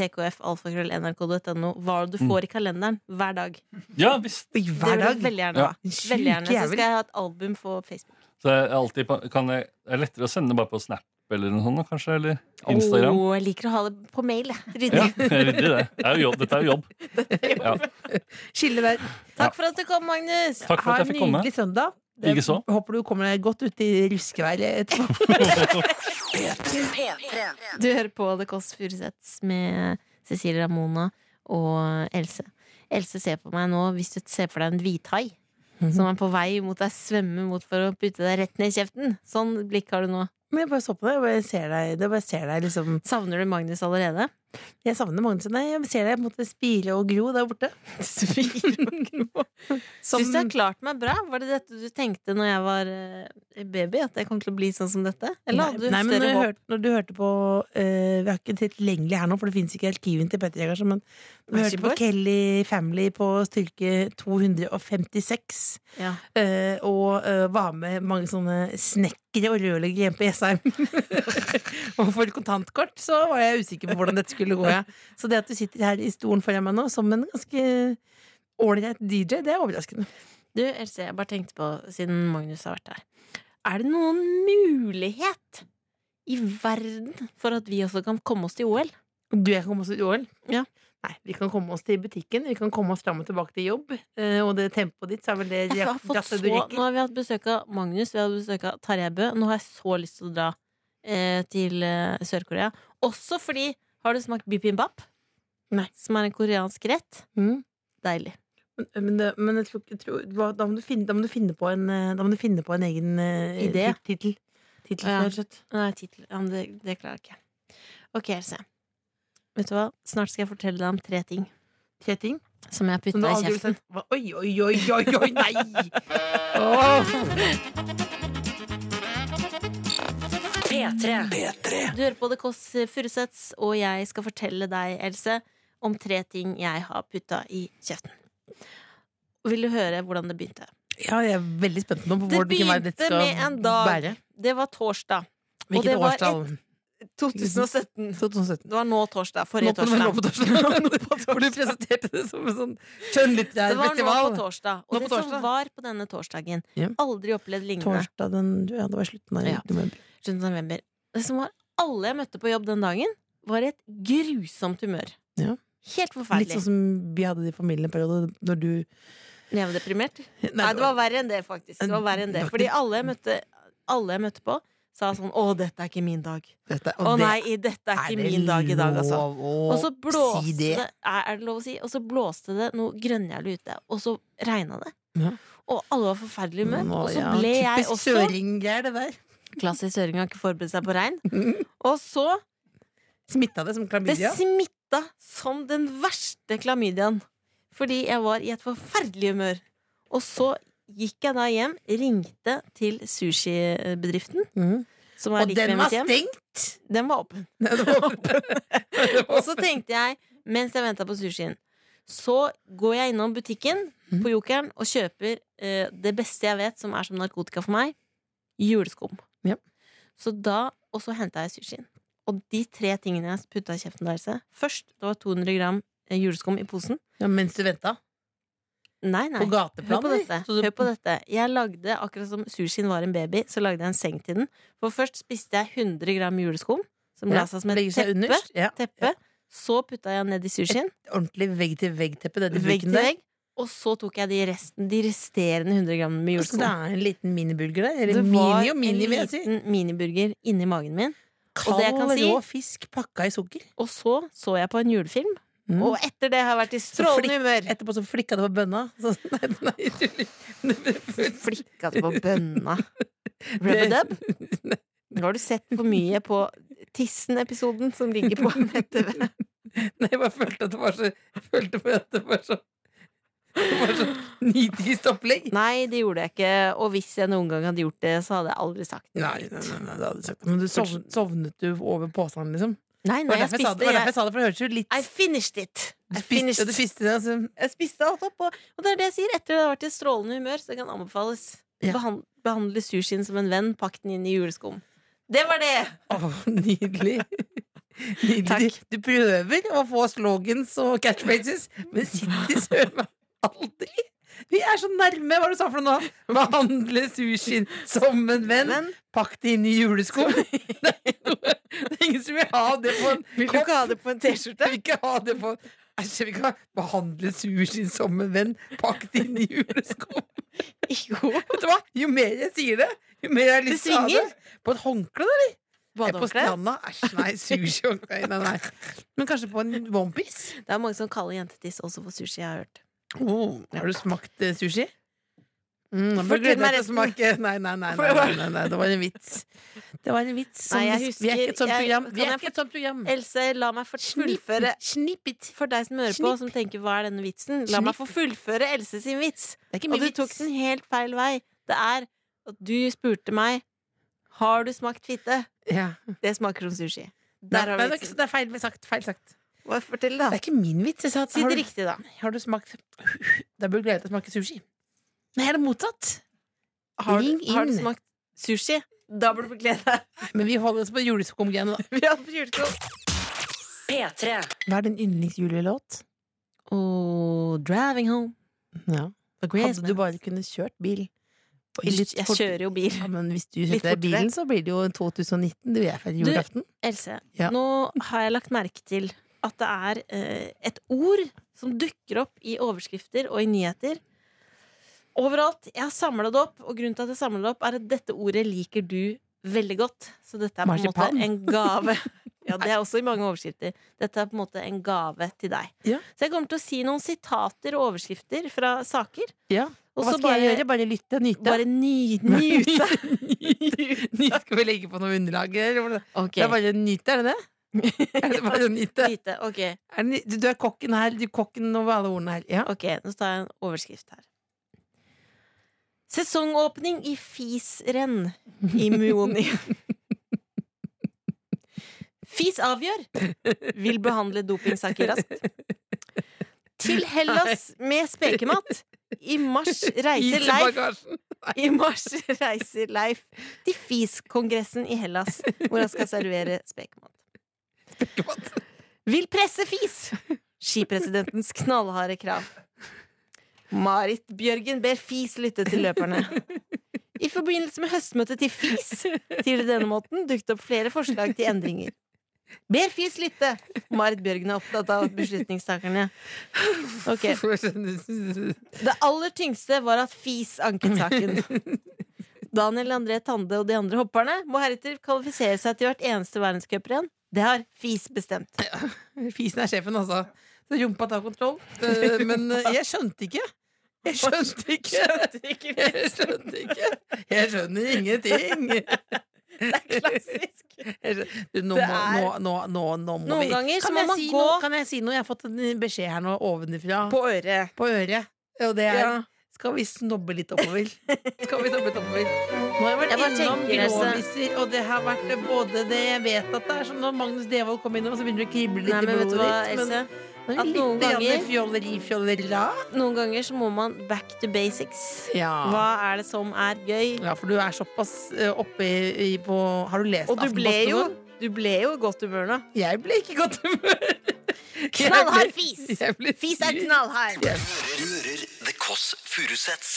[SPEAKER 3] tkfalfakrøll.nrk.no hva du
[SPEAKER 6] Mm.
[SPEAKER 3] får i kalenderen hver dag.
[SPEAKER 6] Ja, visst.
[SPEAKER 2] Oi,
[SPEAKER 3] Det
[SPEAKER 2] Hver
[SPEAKER 3] vil jeg
[SPEAKER 2] dag.
[SPEAKER 3] veldig gjerne
[SPEAKER 6] Ja.
[SPEAKER 3] ha.
[SPEAKER 2] Sjuke
[SPEAKER 3] Veldig gjerne. Så
[SPEAKER 2] jævel.
[SPEAKER 3] skal jeg ha et album på Facebook.
[SPEAKER 6] Så jeg er alltid, på- kan jeg, det er lettere å sende bare på Snap eller noe sånt, kanskje, eller Instagram.
[SPEAKER 3] Åh, jeg liker å ha det på mail. jeg.
[SPEAKER 6] Ja,
[SPEAKER 3] Ryddig.
[SPEAKER 6] ryddig det. det er jo jobb. Dette er jo jobb. Ja.
[SPEAKER 2] Skille der.
[SPEAKER 3] Takk for at du kom, Magnus.
[SPEAKER 6] Takk for
[SPEAKER 2] Ha
[SPEAKER 6] at
[SPEAKER 2] en
[SPEAKER 6] jeg fikk komme.
[SPEAKER 2] nydelig søndag.
[SPEAKER 6] Ikke så.
[SPEAKER 2] Håper du kommer deg godt ut i ruskeværet etterpå.
[SPEAKER 4] P3.
[SPEAKER 3] Du hører på The Kåss Furuseths med Cecilie Ramona og Else. Else ser på meg nå hvis du ser for deg en hvithai
[SPEAKER 6] Mhm.
[SPEAKER 3] som er på vei mot deg, svømme mot for å putte deg rett ned i kjeften. Sånn blikk har du nå.
[SPEAKER 2] Men jeg bare så på deg, og jeg ser deg, det bare ser deg liksom
[SPEAKER 3] Savner du Magnus allerede?
[SPEAKER 2] Jeg savner Magnus. Nei, jeg ser deg på en måte spire og gro der borte.
[SPEAKER 3] Syns du jeg har klart meg bra? Var det dette du tenkte når jeg var eh, baby? At jeg kom til å bli sånn som dette? Eller hadde du
[SPEAKER 2] nei, men når,
[SPEAKER 3] større
[SPEAKER 2] jeg
[SPEAKER 3] håp?
[SPEAKER 2] hørte, når du hørte på eh, Vi har ikke tilgjengelig her nå, for det fins ikke arkiven til Petter Jegers, men vi
[SPEAKER 3] Backstreet
[SPEAKER 2] hørte på
[SPEAKER 3] Boys?
[SPEAKER 2] Kelly Family på styrke 256.
[SPEAKER 3] Ja.
[SPEAKER 2] eh, og eh, var med mange sånne snekkere og rørleggere hjemme på Jessheim. og for kontantkort så var jeg usikker på hvordan dette skulle gå. Ja. Så det at du sitter her i stolen foran meg nå som en ganske ålreit DJ, det er overraskende.
[SPEAKER 3] Du, Else, jeg bare tenkte på, siden Magnus har vært her Er det noen mulighet i verden for at vi også kan komme oss til OL?
[SPEAKER 2] Du, jeg kan komme oss til OL?
[SPEAKER 3] Ja.
[SPEAKER 2] Nei, vi kan komme oss til butikken, vi kan komme oss fram og tilbake til jobb. eh, Og det tempoet ditt, så er vel det
[SPEAKER 3] Jeg har fått så,
[SPEAKER 2] rattet du
[SPEAKER 3] nå
[SPEAKER 2] rekker.
[SPEAKER 3] har vi hatt besøk av Magnus, vi har hatt besøk av Tarjei Bø. Nå har jeg så lyst til å dra eh, til eh, Sør-Korea. Også fordi Har du smakt bibimbap?
[SPEAKER 2] Nei.
[SPEAKER 3] Som er en koreansk rett?
[SPEAKER 2] Mm.
[SPEAKER 3] Deilig.
[SPEAKER 2] Men, men, det- men jeg tror, ikke- jeg tror, hva- da, må du finne, da må du finne på en eh, Da må du finne på en egen eh,
[SPEAKER 3] Idé.
[SPEAKER 2] tit- Tittel. Tittel,
[SPEAKER 3] Ja.
[SPEAKER 2] rett og slett.
[SPEAKER 3] Nei, tittel. Ja, men det, det klarer jeg ikke. Ok, Else. Vet du hva? Snart skal jeg fortelle deg om tre ting
[SPEAKER 2] Tre ting.
[SPEAKER 3] som jeg har
[SPEAKER 2] Som du
[SPEAKER 3] putta i
[SPEAKER 2] aldri vil
[SPEAKER 3] kjeften.
[SPEAKER 2] sette- Hva- Oi, oi, oi, oi, oi, nei!
[SPEAKER 4] P3.
[SPEAKER 3] Du hører på The Kåss Furuseths, og jeg skal fortelle deg, Else, om tre ting jeg har putta i kjeften. Vil du høre hvordan det begynte?
[SPEAKER 2] Ja, jeg er veldig spent nå på
[SPEAKER 3] Det
[SPEAKER 2] hvor hvilken vei dette skal
[SPEAKER 3] begynte med en dag.
[SPEAKER 2] bære.
[SPEAKER 3] Det var torsdag Og
[SPEAKER 2] Hvilket
[SPEAKER 3] det var
[SPEAKER 2] årstall?
[SPEAKER 3] 2017.
[SPEAKER 2] 2017.
[SPEAKER 3] Det var nå torsdag.
[SPEAKER 2] Nå
[SPEAKER 3] Forrige
[SPEAKER 2] på- nå på
[SPEAKER 3] torsdag.
[SPEAKER 2] torsdag. Hvor du presenterte det som en sånn skjønnlitterær
[SPEAKER 3] Det var nå
[SPEAKER 2] festival.
[SPEAKER 3] på torsdag.
[SPEAKER 2] Nå
[SPEAKER 3] Og
[SPEAKER 2] på
[SPEAKER 3] det som
[SPEAKER 2] torsdag.
[SPEAKER 3] var på denne torsdagen,
[SPEAKER 2] Ja.
[SPEAKER 3] aldri opplevd lignende.
[SPEAKER 2] Torsdag den Ja, det var slutten av
[SPEAKER 3] Ja.
[SPEAKER 2] november.
[SPEAKER 3] 7. november. Det som var alle jeg møtte på jobb den dagen, var i et grusomt humør.
[SPEAKER 2] Ja.
[SPEAKER 3] Helt
[SPEAKER 2] Litt
[SPEAKER 3] forferdelig.
[SPEAKER 2] sånn som vi hadde det i familieperiode når du
[SPEAKER 3] Levedeprimert. Nei, det var verre enn det, faktisk. Det var verre enn det.
[SPEAKER 2] Det var
[SPEAKER 3] Fordi
[SPEAKER 2] ikke-
[SPEAKER 3] alle jeg møtte, alle jeg møtte på, sa sånn 'Å, dette er ikke min dag'.
[SPEAKER 2] dette,
[SPEAKER 3] Å nei, i- dette er ikke min dag i dag, altså. Og så blåste det. Er, er det lov å si? Og så blåste det noe grønnjævlig ute, og så regna det.
[SPEAKER 2] Ja.
[SPEAKER 3] Og alle var forferdelig humør. Og så ble jeg
[SPEAKER 2] Typisk
[SPEAKER 3] også
[SPEAKER 2] søringgreier, det der.
[SPEAKER 3] Klassisk søring har ikke forberedt seg på regn. Og så
[SPEAKER 2] Smitta det som
[SPEAKER 3] Det
[SPEAKER 2] klamydia?
[SPEAKER 3] smitta som den verste klamydiaen. Fordi jeg var i et forferdelig humør. Og så gikk jeg da hjem, ringte til sushibedriften,
[SPEAKER 2] Mhm.
[SPEAKER 3] som er
[SPEAKER 2] Og
[SPEAKER 3] like ved
[SPEAKER 2] den var
[SPEAKER 3] mitt hjem.
[SPEAKER 2] stengt!
[SPEAKER 3] Den var åpen.
[SPEAKER 2] Nei, det var- det
[SPEAKER 3] Og
[SPEAKER 2] var-
[SPEAKER 3] så tenkte jeg, mens jeg venta på sushien Så går jeg innom butikken
[SPEAKER 2] Mhm.
[SPEAKER 3] på Jokeren og kjøper eh, det beste jeg vet, som er som narkotika for meg, juleskum.
[SPEAKER 2] Ja.
[SPEAKER 3] Så da, Og så henta jeg sushien. Og de tre tingene jeg putta i kjeften deres Først det var 200 gram eh, juleskum i posen.
[SPEAKER 2] Ja, mens du venta?
[SPEAKER 3] Nei, nei.
[SPEAKER 2] På gateplan?
[SPEAKER 3] Hør på
[SPEAKER 2] eller?
[SPEAKER 3] dette.
[SPEAKER 2] Så du-
[SPEAKER 3] Hør på dette. Jeg lagde, akkurat som sushien var en baby, så lagde jeg en seng til den. For først spiste jeg 100 gram juleskum, som
[SPEAKER 2] Ja,
[SPEAKER 3] la seg som et
[SPEAKER 2] legger seg
[SPEAKER 3] teppe.
[SPEAKER 2] underst. Ja.
[SPEAKER 3] teppe. Så putta jeg ned i sushien.
[SPEAKER 2] Ordentlig vegg-til-vegg-teppe. Denne
[SPEAKER 3] Vegg
[SPEAKER 2] buken
[SPEAKER 3] til
[SPEAKER 2] der.
[SPEAKER 3] vegg. Og så tok jeg de, resten, de resterende 100 grammene med
[SPEAKER 2] Så det
[SPEAKER 3] juleskum.
[SPEAKER 2] er en liten minibulger der? Eller
[SPEAKER 3] Det var
[SPEAKER 2] mini og mini, vil jeg si.
[SPEAKER 3] en liten miniburger inni magen min. Og det jeg kan
[SPEAKER 2] Kald,
[SPEAKER 3] si-
[SPEAKER 2] rå fisk pakka i sukker.
[SPEAKER 3] Og så så jeg på en julefilm,
[SPEAKER 2] Mm.
[SPEAKER 3] og etter det har jeg vært i strålende humør.
[SPEAKER 2] Etterpå så flikka det på bønna. Så, nei, nei, tuller.
[SPEAKER 3] Flikka du på bønna? Rub-a-dub? Nå har du sett for mye på Tissen-episoden som ligger på nett-TV.
[SPEAKER 2] Nei, jeg bare følte at det var så Følte på at det var så Det var så nitrist opplegg.
[SPEAKER 3] Nei, det gjorde jeg ikke, og hvis jeg noen gang hadde gjort det, så hadde jeg aldri sagt det.
[SPEAKER 2] Nei, nei, nei, nei, det hadde jeg sagt. Men du sovnet, sovnet du over påsene, liksom?
[SPEAKER 3] Nei,
[SPEAKER 2] Det
[SPEAKER 3] nei,
[SPEAKER 2] var
[SPEAKER 3] jeg
[SPEAKER 2] derfor jeg sa det, det, var
[SPEAKER 3] spiste
[SPEAKER 2] derfor
[SPEAKER 3] jeg,
[SPEAKER 2] jeg sa det for det hørtes jo litt
[SPEAKER 3] I finished it.
[SPEAKER 2] Du
[SPEAKER 3] I
[SPEAKER 2] spiste,
[SPEAKER 3] finished
[SPEAKER 2] du spiste det, altså.
[SPEAKER 3] Jeg spiste alt opp, og, og det er det jeg sier. Etter det har vært i strålende humør, så det kan anbefales.
[SPEAKER 2] Ja.
[SPEAKER 3] Behan- behandle sushien som en venn, pakk den inn i juleskum. Det var det!
[SPEAKER 2] Åh, nydelig. nydelig.
[SPEAKER 3] Takk.
[SPEAKER 2] Du prøver å få slogans og catchphrases, men sitter søren meg aldri. Vi er så nærme, hva du sa for noe nå? Behandle sushien som en venn.
[SPEAKER 3] Men
[SPEAKER 2] Pakk det inn i julesko. Det er ikke noe- det er ingen som vil ha det på en
[SPEAKER 3] vil du ikke ha det på en T-skjorte?
[SPEAKER 2] Jeg vil ikke ha det på Æsj, jeg vil ikke ha behandle sushien som en venn. Pakk det inn i julesko.
[SPEAKER 3] Jo.
[SPEAKER 2] Vet du hva? Jo mer jeg sier det, jo mer jeg har lyst til å ha
[SPEAKER 3] svinger.
[SPEAKER 2] det. På et håndkle, da? Jeg På
[SPEAKER 3] Badehåndkle.
[SPEAKER 2] stranda? Æsj, nei. Sushihåndkle. Nei, nei. Men kanskje på en onepiece?
[SPEAKER 3] Det er mange som kaller jentetiss også for sushi, jeg har hørt.
[SPEAKER 2] Oh, har du smakt eh, sushi? Mm, nå
[SPEAKER 3] Fortell
[SPEAKER 2] gleder jeg
[SPEAKER 3] meg
[SPEAKER 2] meg til å
[SPEAKER 3] resten.
[SPEAKER 2] smake Nei, nei, nei, nei, nei, nei, nei. Det var en vits. Det var en vits som
[SPEAKER 3] Nei, jeg
[SPEAKER 2] vi-
[SPEAKER 3] husker-
[SPEAKER 2] Vi er ikke et sånt
[SPEAKER 3] jeg-
[SPEAKER 2] program.
[SPEAKER 3] kan
[SPEAKER 2] Vi er
[SPEAKER 3] jeg Eh,
[SPEAKER 2] ikke et sånt program.
[SPEAKER 3] Mm. Else, la meg få fullføre
[SPEAKER 2] Snipp it.
[SPEAKER 3] For deg som hører på, som tenker 'hva er denne vitsen', la meg få fullføre Else sin vits.
[SPEAKER 2] Det er ikke
[SPEAKER 3] Og
[SPEAKER 2] mye
[SPEAKER 3] du tok
[SPEAKER 2] vits.
[SPEAKER 3] den helt feil vei. Det er at du spurte meg 'har du smakt fitte'?
[SPEAKER 2] Ja.
[SPEAKER 3] Det smaker som sushi.
[SPEAKER 2] Nei,
[SPEAKER 3] Der har
[SPEAKER 2] nei, det, er ikke-
[SPEAKER 3] vi vitsen. Ah.
[SPEAKER 2] det er feil sagt. Feil sagt.
[SPEAKER 3] Hva- Fortell, da.
[SPEAKER 2] Det er ikke min vits. Jeg sa at
[SPEAKER 3] Si
[SPEAKER 2] har
[SPEAKER 3] det
[SPEAKER 2] du-
[SPEAKER 3] riktig, da.
[SPEAKER 2] Har du smakt Da bør du glede deg til å smake sushi. Nei, det er motsatt.
[SPEAKER 3] Har,
[SPEAKER 2] Ring
[SPEAKER 3] du- har du
[SPEAKER 2] inn.
[SPEAKER 3] smakt sushi? Da burde du glede deg.
[SPEAKER 2] Men vi holder oss på juleskumgreiene, da.
[SPEAKER 3] Vi hadde på julekort.
[SPEAKER 4] P3.
[SPEAKER 2] Hva er din yndlingsjulelåt?
[SPEAKER 3] Og driving home.
[SPEAKER 2] Ja. Hadde
[SPEAKER 3] Christmas.
[SPEAKER 2] du bare kunnet kjørt bil på- i litt
[SPEAKER 3] Jeg
[SPEAKER 2] fort-
[SPEAKER 3] kjører jo bil.
[SPEAKER 2] Ja, men hvis du
[SPEAKER 3] Litt
[SPEAKER 2] setter deg i
[SPEAKER 3] fortere.
[SPEAKER 2] bilen, så blir det jo 2019. Du er ferdig
[SPEAKER 3] Du-
[SPEAKER 2] julaften.
[SPEAKER 3] Else,
[SPEAKER 2] Ja.
[SPEAKER 3] nå har jeg lagt merke til at det er eh, et ord som dukker opp i overskrifter og i nyheter. Overalt. Jeg har samla det opp, og grunnen til at jeg samler det opp, er at dette ordet liker du veldig godt. Så dette er på en måte
[SPEAKER 2] Marsipan.
[SPEAKER 3] en gave. Ja, det er også i mange overskrifter. Dette er på en måte en gave til deg.
[SPEAKER 2] Ja.
[SPEAKER 3] Så jeg kommer til å si noen sitater og overskrifter fra saker.
[SPEAKER 2] Ja. Og
[SPEAKER 3] Og
[SPEAKER 2] hva
[SPEAKER 3] så
[SPEAKER 2] skal jeg gjøre?
[SPEAKER 3] bare,
[SPEAKER 2] Bare lytte og nyte?
[SPEAKER 3] bare ny, nyte.
[SPEAKER 2] Nyte. Skal vi legge på noe underlag? Eller? hvordan?
[SPEAKER 3] Ok,
[SPEAKER 2] Det er bare å nyte, er det det? Er det bare å nyte?
[SPEAKER 3] nyte. Ok,
[SPEAKER 2] Er det, ny- du, du er kokken her. Du er kokken over alle ordene her. Ja.
[SPEAKER 3] Ok, nå tar jeg en overskrift her. Sesongåpning i fisrenn i Muoni. Fis avgjør! Vil behandle dopingsaker raskt. Til Hellas med spekemat. I mars reiser
[SPEAKER 2] Is i
[SPEAKER 3] Leif
[SPEAKER 2] bagasjen.
[SPEAKER 3] I mars reiser Leif til FIS-kongressen i Hellas, hvor han skal servere spekemat.
[SPEAKER 2] Godt.
[SPEAKER 3] Vil presse fis! Skipresidentens knallharde krav. Marit Bjørgen ber fis lytte til løperne. I forbindelse med høstmøtet til FIS tidligere denne måten dukket opp flere forslag til endringer. Ber FIS lytte! Marit Bjørgen er opptatt av beslutningstakerne. Ok, det aller tyngste var at FIS anket saken. Daniel André Tande og de andre hopperne må heretter kvalifisere seg til hvert eneste verdenscuprenn. Det har FIS bestemt.
[SPEAKER 2] Fisen er sjefen, altså. Så rumpa tar kontroll. Eh, Men eh, jeg skjønte ikke. Jeg skjønte ikke. Jeg skjønte ikke. Jeg skjønner ingenting.
[SPEAKER 3] Det er klassisk.
[SPEAKER 2] Du, nå,
[SPEAKER 3] Det
[SPEAKER 2] må, nå,
[SPEAKER 3] er-
[SPEAKER 2] nå, nå, nå må
[SPEAKER 3] Noen
[SPEAKER 2] vi
[SPEAKER 3] ganger så
[SPEAKER 2] kan
[SPEAKER 3] må
[SPEAKER 2] jeg
[SPEAKER 3] man
[SPEAKER 2] si
[SPEAKER 3] gå-
[SPEAKER 2] noe? Kan jeg si noe? Jeg har fått en beskjed her nå ovenfra. På,
[SPEAKER 3] På øret.
[SPEAKER 2] øret. Og det er
[SPEAKER 3] Ja.
[SPEAKER 2] Skal vi snobbe litt oppover? Skal vi snobbe litt oppover? Nå har jeg vært
[SPEAKER 3] Jeg bare
[SPEAKER 2] innom
[SPEAKER 3] tenker, altså-
[SPEAKER 2] grånisser, og det har vært både det jeg vet at det er som når Magnus Devold kom innom, så begynner det å krible litt
[SPEAKER 3] Nei, men
[SPEAKER 2] i
[SPEAKER 3] vet du
[SPEAKER 2] blodet
[SPEAKER 3] hva,
[SPEAKER 2] ditt.
[SPEAKER 3] Else?
[SPEAKER 2] men
[SPEAKER 3] At
[SPEAKER 2] litt
[SPEAKER 3] noen
[SPEAKER 2] grann
[SPEAKER 3] ganger-
[SPEAKER 2] Fjolleri, fjollera.
[SPEAKER 3] Noen ganger så må man back to basics.
[SPEAKER 2] Ja.
[SPEAKER 3] Hva er det som er gøy?
[SPEAKER 2] ja, for du er såpass eh, oppe i, i på Har du lest
[SPEAKER 3] Og du ble
[SPEAKER 2] Aftenposten
[SPEAKER 3] jo
[SPEAKER 2] nå?
[SPEAKER 3] Du ble jo i godt humør nå.
[SPEAKER 2] Jeg ble ikke i godt humør. Jeg ble-
[SPEAKER 3] Knallhard fis!
[SPEAKER 2] jeg ble
[SPEAKER 3] Fis er
[SPEAKER 2] sur.
[SPEAKER 3] knallhard!
[SPEAKER 1] Du hører The Kåss Furuseths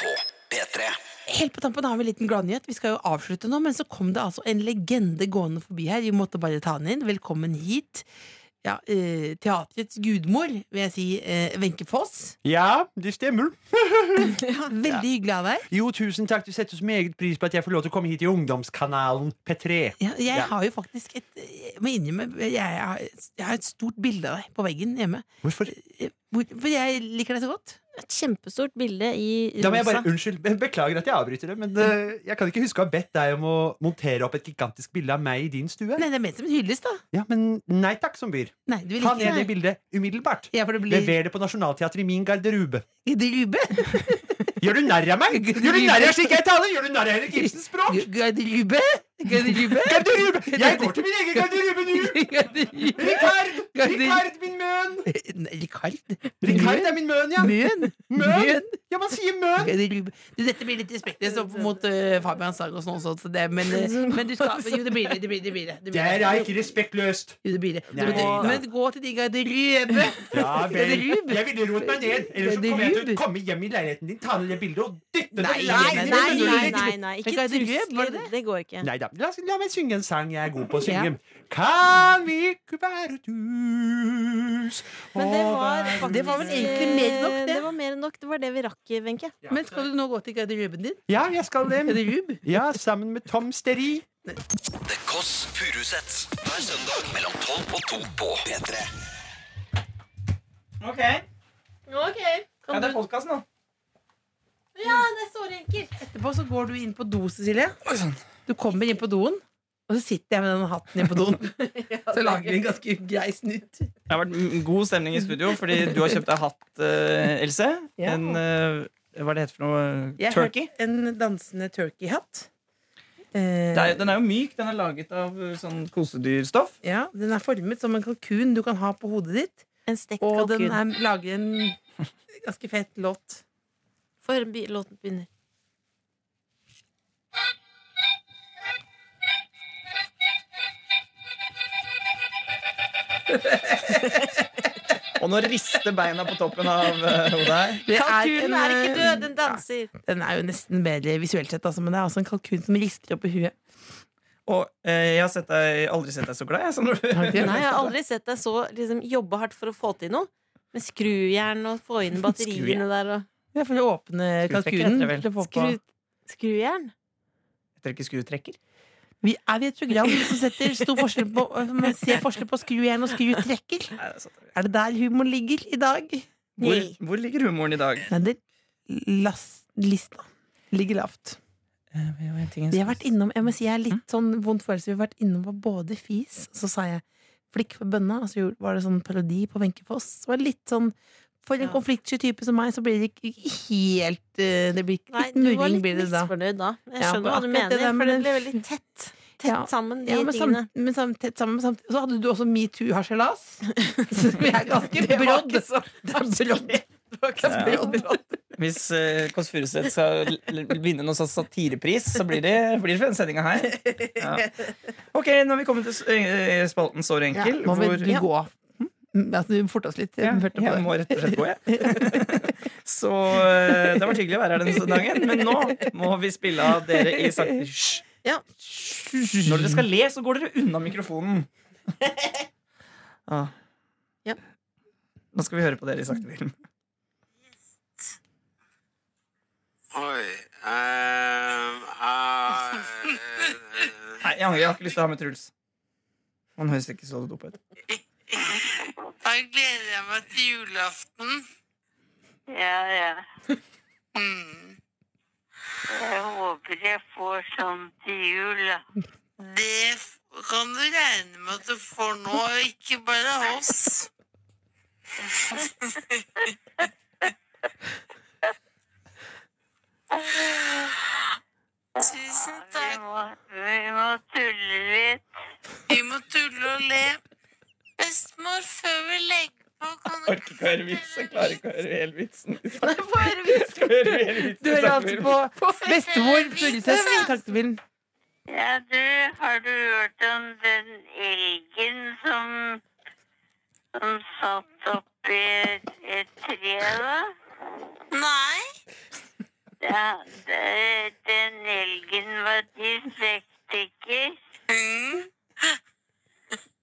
[SPEAKER 1] på P3.
[SPEAKER 2] Helt på tampen har vi en liten gladnyhet. Vi skal jo avslutte nå, men så kom det altså en legende gående forbi her. Vi måtte bare ta den inn. Velkommen hit. Ja, eh, teatrets gudmor, vil jeg si. eh, Wenche Foss.
[SPEAKER 7] Ja, det stemmer.
[SPEAKER 2] Veldig hyggelig av deg.
[SPEAKER 7] Jo, tusen takk. Du setter så meget pris på at jeg får lov til å komme hit i ungdomskanalen P3.
[SPEAKER 2] Ja, jeg
[SPEAKER 7] Ja.
[SPEAKER 2] har jo faktisk et eh, Jeg må innrømme, jeg, har- jeg har et stort bilde av deg på veggen hjemme.
[SPEAKER 7] Hvorfor?
[SPEAKER 2] Eh, hvor- For jeg liker deg så godt.
[SPEAKER 3] Et kjempestort bilde i
[SPEAKER 7] Da må jeg bare,
[SPEAKER 3] rosa.
[SPEAKER 7] unnskyld, be- Beklager at jeg avbryter det, men eh, jeg kan ikke huske å ha bedt deg om å montere opp et gigantisk bilde av meg i din stue.
[SPEAKER 2] Nei, det er ment som en hyllest, da.
[SPEAKER 7] Ja, Men nei takk, som byr.
[SPEAKER 2] Nei, du vil
[SPEAKER 7] Ta
[SPEAKER 2] ikke
[SPEAKER 7] ned det
[SPEAKER 2] Nei.
[SPEAKER 7] bildet umiddelbart.
[SPEAKER 2] Ja, for det blir
[SPEAKER 7] Lever det på Nationaltheatret i min garderobe.
[SPEAKER 2] Garderobe.
[SPEAKER 7] Gjør du narr av meg? Gjør du narr av slik jeg taler? Gjør du narr av Henrik Ibsens språk?
[SPEAKER 2] Garderobe. Garderobe.
[SPEAKER 7] Garderobe! Jeg går til min egen garderobe nå!
[SPEAKER 2] Garderobe.
[SPEAKER 7] Rikard!
[SPEAKER 2] Garder-
[SPEAKER 7] Rikard, min møn!
[SPEAKER 2] Nei, Rikard?
[SPEAKER 7] Rikard er min møn, ja.
[SPEAKER 2] Møn?
[SPEAKER 7] Møn? Ja, man sier møn!
[SPEAKER 2] Garderobe. Du, dette blir litt respektløst opp mot eh, Fabian Sagosen også, så det, men, eh, men du skal Jo, det blir det. Det blir det. blir det, det,
[SPEAKER 7] Det
[SPEAKER 2] blir
[SPEAKER 7] er ikke respektløst.
[SPEAKER 2] Jo, det, blir det.
[SPEAKER 7] Nei,
[SPEAKER 2] Men du-
[SPEAKER 7] da.
[SPEAKER 2] men gå til de garderobe.
[SPEAKER 7] Ja vel.
[SPEAKER 2] Garderobe.
[SPEAKER 7] Jeg ville roet meg ned. Ellers så kommer jeg til å
[SPEAKER 2] Garderobe.
[SPEAKER 7] komme hjem i leiligheten din, ta ned det bildet og dytte det
[SPEAKER 2] Nei,
[SPEAKER 3] Nei,
[SPEAKER 7] langt inn i
[SPEAKER 3] nei,
[SPEAKER 7] munnen
[SPEAKER 3] nei,
[SPEAKER 7] din.
[SPEAKER 3] nei, nei. ikke
[SPEAKER 2] Garderobe, var det
[SPEAKER 3] trusler.
[SPEAKER 2] det?
[SPEAKER 3] Det går ikke.
[SPEAKER 7] Neida, La, oss- la meg synge en sang jeg er god på å synge. Kan vi ikke være et hus
[SPEAKER 3] Men det var
[SPEAKER 7] over-
[SPEAKER 3] faktisk eh,
[SPEAKER 2] Det var vel egentlig mer enn nok, det.
[SPEAKER 3] Det var mer enn nok. Det var det vi rakk, Wenche.
[SPEAKER 2] Men skal du nå gå til garderoben din?
[SPEAKER 7] Ja, jeg skal det.
[SPEAKER 2] Garderube?
[SPEAKER 7] Ja, sammen med Tom Steri.
[SPEAKER 1] The Kåss Furuseths hver søndag mellom 12 og 2 på P3.
[SPEAKER 8] Ok. Ja, det er podkast nå.
[SPEAKER 2] Etterpå så går du inn på do, Cecilie. Du kommer inn på doen, og så sitter jeg med den hatten inn på doen. Så lager vi en ganske grei snutt.
[SPEAKER 8] Det har vært m- god stemning i studio, fordi du har kjøpt deg hatt, eh, Else.
[SPEAKER 2] Ja.
[SPEAKER 8] En eh, Hva er det heter for noe?
[SPEAKER 2] Jeg har
[SPEAKER 8] Turkey?
[SPEAKER 2] En dansende turkey-hatt. Eh,
[SPEAKER 8] Det er, jo- den er jo myk. Den er laget av eh, sånn kosedyrstoff.
[SPEAKER 2] ja, den er formet som en kalkun du kan ha på hodet ditt.
[SPEAKER 3] En stekt
[SPEAKER 2] Og
[SPEAKER 3] kalkun.
[SPEAKER 2] den er, lager en ganske fet låt.
[SPEAKER 3] For by- låten begynner.
[SPEAKER 8] Og nå rister beina på toppen av eh, hodet her.
[SPEAKER 2] Det er
[SPEAKER 3] Kalkunen
[SPEAKER 2] en,
[SPEAKER 3] er ikke
[SPEAKER 2] eh,
[SPEAKER 3] død, den danser.
[SPEAKER 2] ja, Den er jo nesten bedre visuelt sett, altså, men det er altså en kalkun som rister opp i huet.
[SPEAKER 8] Og eh, jeg har sett deg, aldri sett deg så glad, jeg. Som når du,
[SPEAKER 2] ikke?
[SPEAKER 3] Nei, jeg har aldri sett deg så liksom, jobbe hardt for å få til noe. Med skrujern og få inn batteriene der og
[SPEAKER 2] Det er for å åpne
[SPEAKER 8] Skruspekker
[SPEAKER 2] kalkunen.
[SPEAKER 8] heter det
[SPEAKER 2] til å få på.
[SPEAKER 3] Skru, Skrujern?
[SPEAKER 8] Heter det ikke skrutrekker?
[SPEAKER 2] Vi er i et program som setter stor forskjell på Man ser forskjell på skrujern og skrutrekker.
[SPEAKER 8] Nei, det er sant.
[SPEAKER 2] Er det der humor ligger i dag?
[SPEAKER 8] Hvor,
[SPEAKER 3] Nei.
[SPEAKER 8] hvor ligger humoren i dag?
[SPEAKER 2] Nei, det las- lista ligger lavt.
[SPEAKER 3] Eh,
[SPEAKER 2] Vi har vært innom, jeg må si jeg er
[SPEAKER 3] Mm.
[SPEAKER 2] litt sånn vond følelse Vi har vært innom på både fis Og så sa jeg flikk på bønna Og så gjorde- var det sånn parodi på Wenche Foss Det var litt sånn, for en
[SPEAKER 3] Ja.
[SPEAKER 2] konfliktsky type som meg Så blir det ikke ikke helt eh, Det blir ikke
[SPEAKER 3] Nei,
[SPEAKER 2] litt
[SPEAKER 3] du var
[SPEAKER 2] murring
[SPEAKER 3] litt
[SPEAKER 2] blir det da
[SPEAKER 3] misfornøyd da. Jeg
[SPEAKER 2] Ja,
[SPEAKER 3] skjønner
[SPEAKER 2] for
[SPEAKER 3] hva du
[SPEAKER 2] akkurat
[SPEAKER 3] mener,
[SPEAKER 2] det der med
[SPEAKER 3] for det
[SPEAKER 2] den-
[SPEAKER 3] ble veldig tett. Tett
[SPEAKER 2] Ja.
[SPEAKER 3] sammen, de
[SPEAKER 2] ja, men
[SPEAKER 3] tingene.
[SPEAKER 2] samt, men samt, tett sammen, men samt, Så hadde du også MeToo-harselas Så vi er ganske
[SPEAKER 8] Det var
[SPEAKER 2] brådd
[SPEAKER 8] ikke så-
[SPEAKER 2] Det er brådd Det er
[SPEAKER 8] Ja.
[SPEAKER 2] brådd.
[SPEAKER 8] Hvis uh, Kåss Furuseth skal l- l- vinne noen sånn satirepris, så blir det, blir det for den sendinga her. Ja. Ok, nå har vi kommet til s- eh, spalten Sår
[SPEAKER 2] Ja,
[SPEAKER 8] enkel.
[SPEAKER 2] Nå må
[SPEAKER 8] hvor-
[SPEAKER 2] vi
[SPEAKER 8] ja.
[SPEAKER 2] gå Mm, altså, Du fortet oss litt
[SPEAKER 8] Hm? Ja,
[SPEAKER 2] hørte på
[SPEAKER 8] jeg
[SPEAKER 2] det.
[SPEAKER 8] må rett og slett gå, jeg. Så eh, det har vært hyggelig å være her denne dagen, men nå må vi spille av dere i sakte Hysj.
[SPEAKER 2] Ja.
[SPEAKER 8] Når dere skal le, så går dere unna mikrofonen. Ah.
[SPEAKER 3] Ja.
[SPEAKER 8] Nå skal vi høre på dere i sakte film.
[SPEAKER 9] Oi ehm, eh,
[SPEAKER 8] Nei, jeg angrer. Jeg har ikke lyst til å ha med Truls. Han høres ikke så dopa ut.
[SPEAKER 10] Da gleder jeg meg til julaften.
[SPEAKER 5] Ja, ja.
[SPEAKER 10] Mm.
[SPEAKER 5] Jeg håper jeg får sånn til jul, da. Det f- kan du regne med at du får nå, og ikke bare oss. Tusen takk. Vi må, tulle litt. Vi må tulle og le. Bestemor, før vi legger på, kan du
[SPEAKER 8] Orker ikke å høre vits. Jeg klarer ikke å høre hele vitsen.
[SPEAKER 2] Nei, få høre vitsen.
[SPEAKER 8] Skal høre hele vitsen.
[SPEAKER 2] Du hører altså på Bestemor
[SPEAKER 5] Vitsen,
[SPEAKER 2] Furuset
[SPEAKER 5] ja.
[SPEAKER 2] i taktbilen.
[SPEAKER 5] Ja, du, har du hørt om den elgen som, som satt oppi et, et tre, da? Nei. Ja, det, den elgen var dyslektiker.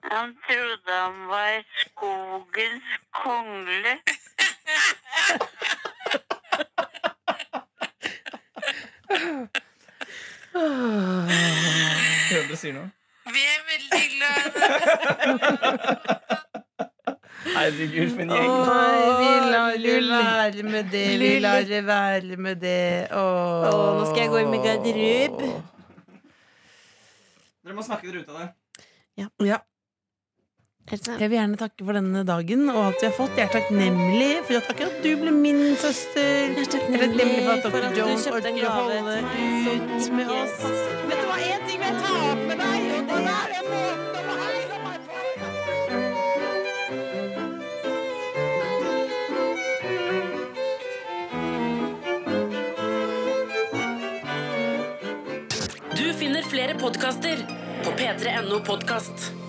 [SPEAKER 5] Han trodde han var skogens kongle.
[SPEAKER 8] Hører du sier noe?
[SPEAKER 5] Vi er veldig glad
[SPEAKER 8] Herregud, for en
[SPEAKER 2] Nei, vi lar
[SPEAKER 8] gjeng.
[SPEAKER 2] det være med det, vi lar det være med det. Åh.
[SPEAKER 3] Åh, nå skal jeg gå inn med garderob.
[SPEAKER 8] Dere må snakke dere ut av det.
[SPEAKER 2] Ja. Jeg vil gjerne takke for denne dagen og alt vi har fått. Jeg er takknemlig for at akkurat du ble min søster. Jeg er takknemlig for at dr. Jones orker å holde ut med oss. Vet du hva, én ting vil jeg ta opp med deg, og det er den måten å heie meg på.
[SPEAKER 11] Du finner flere podkaster på p3.no podkast.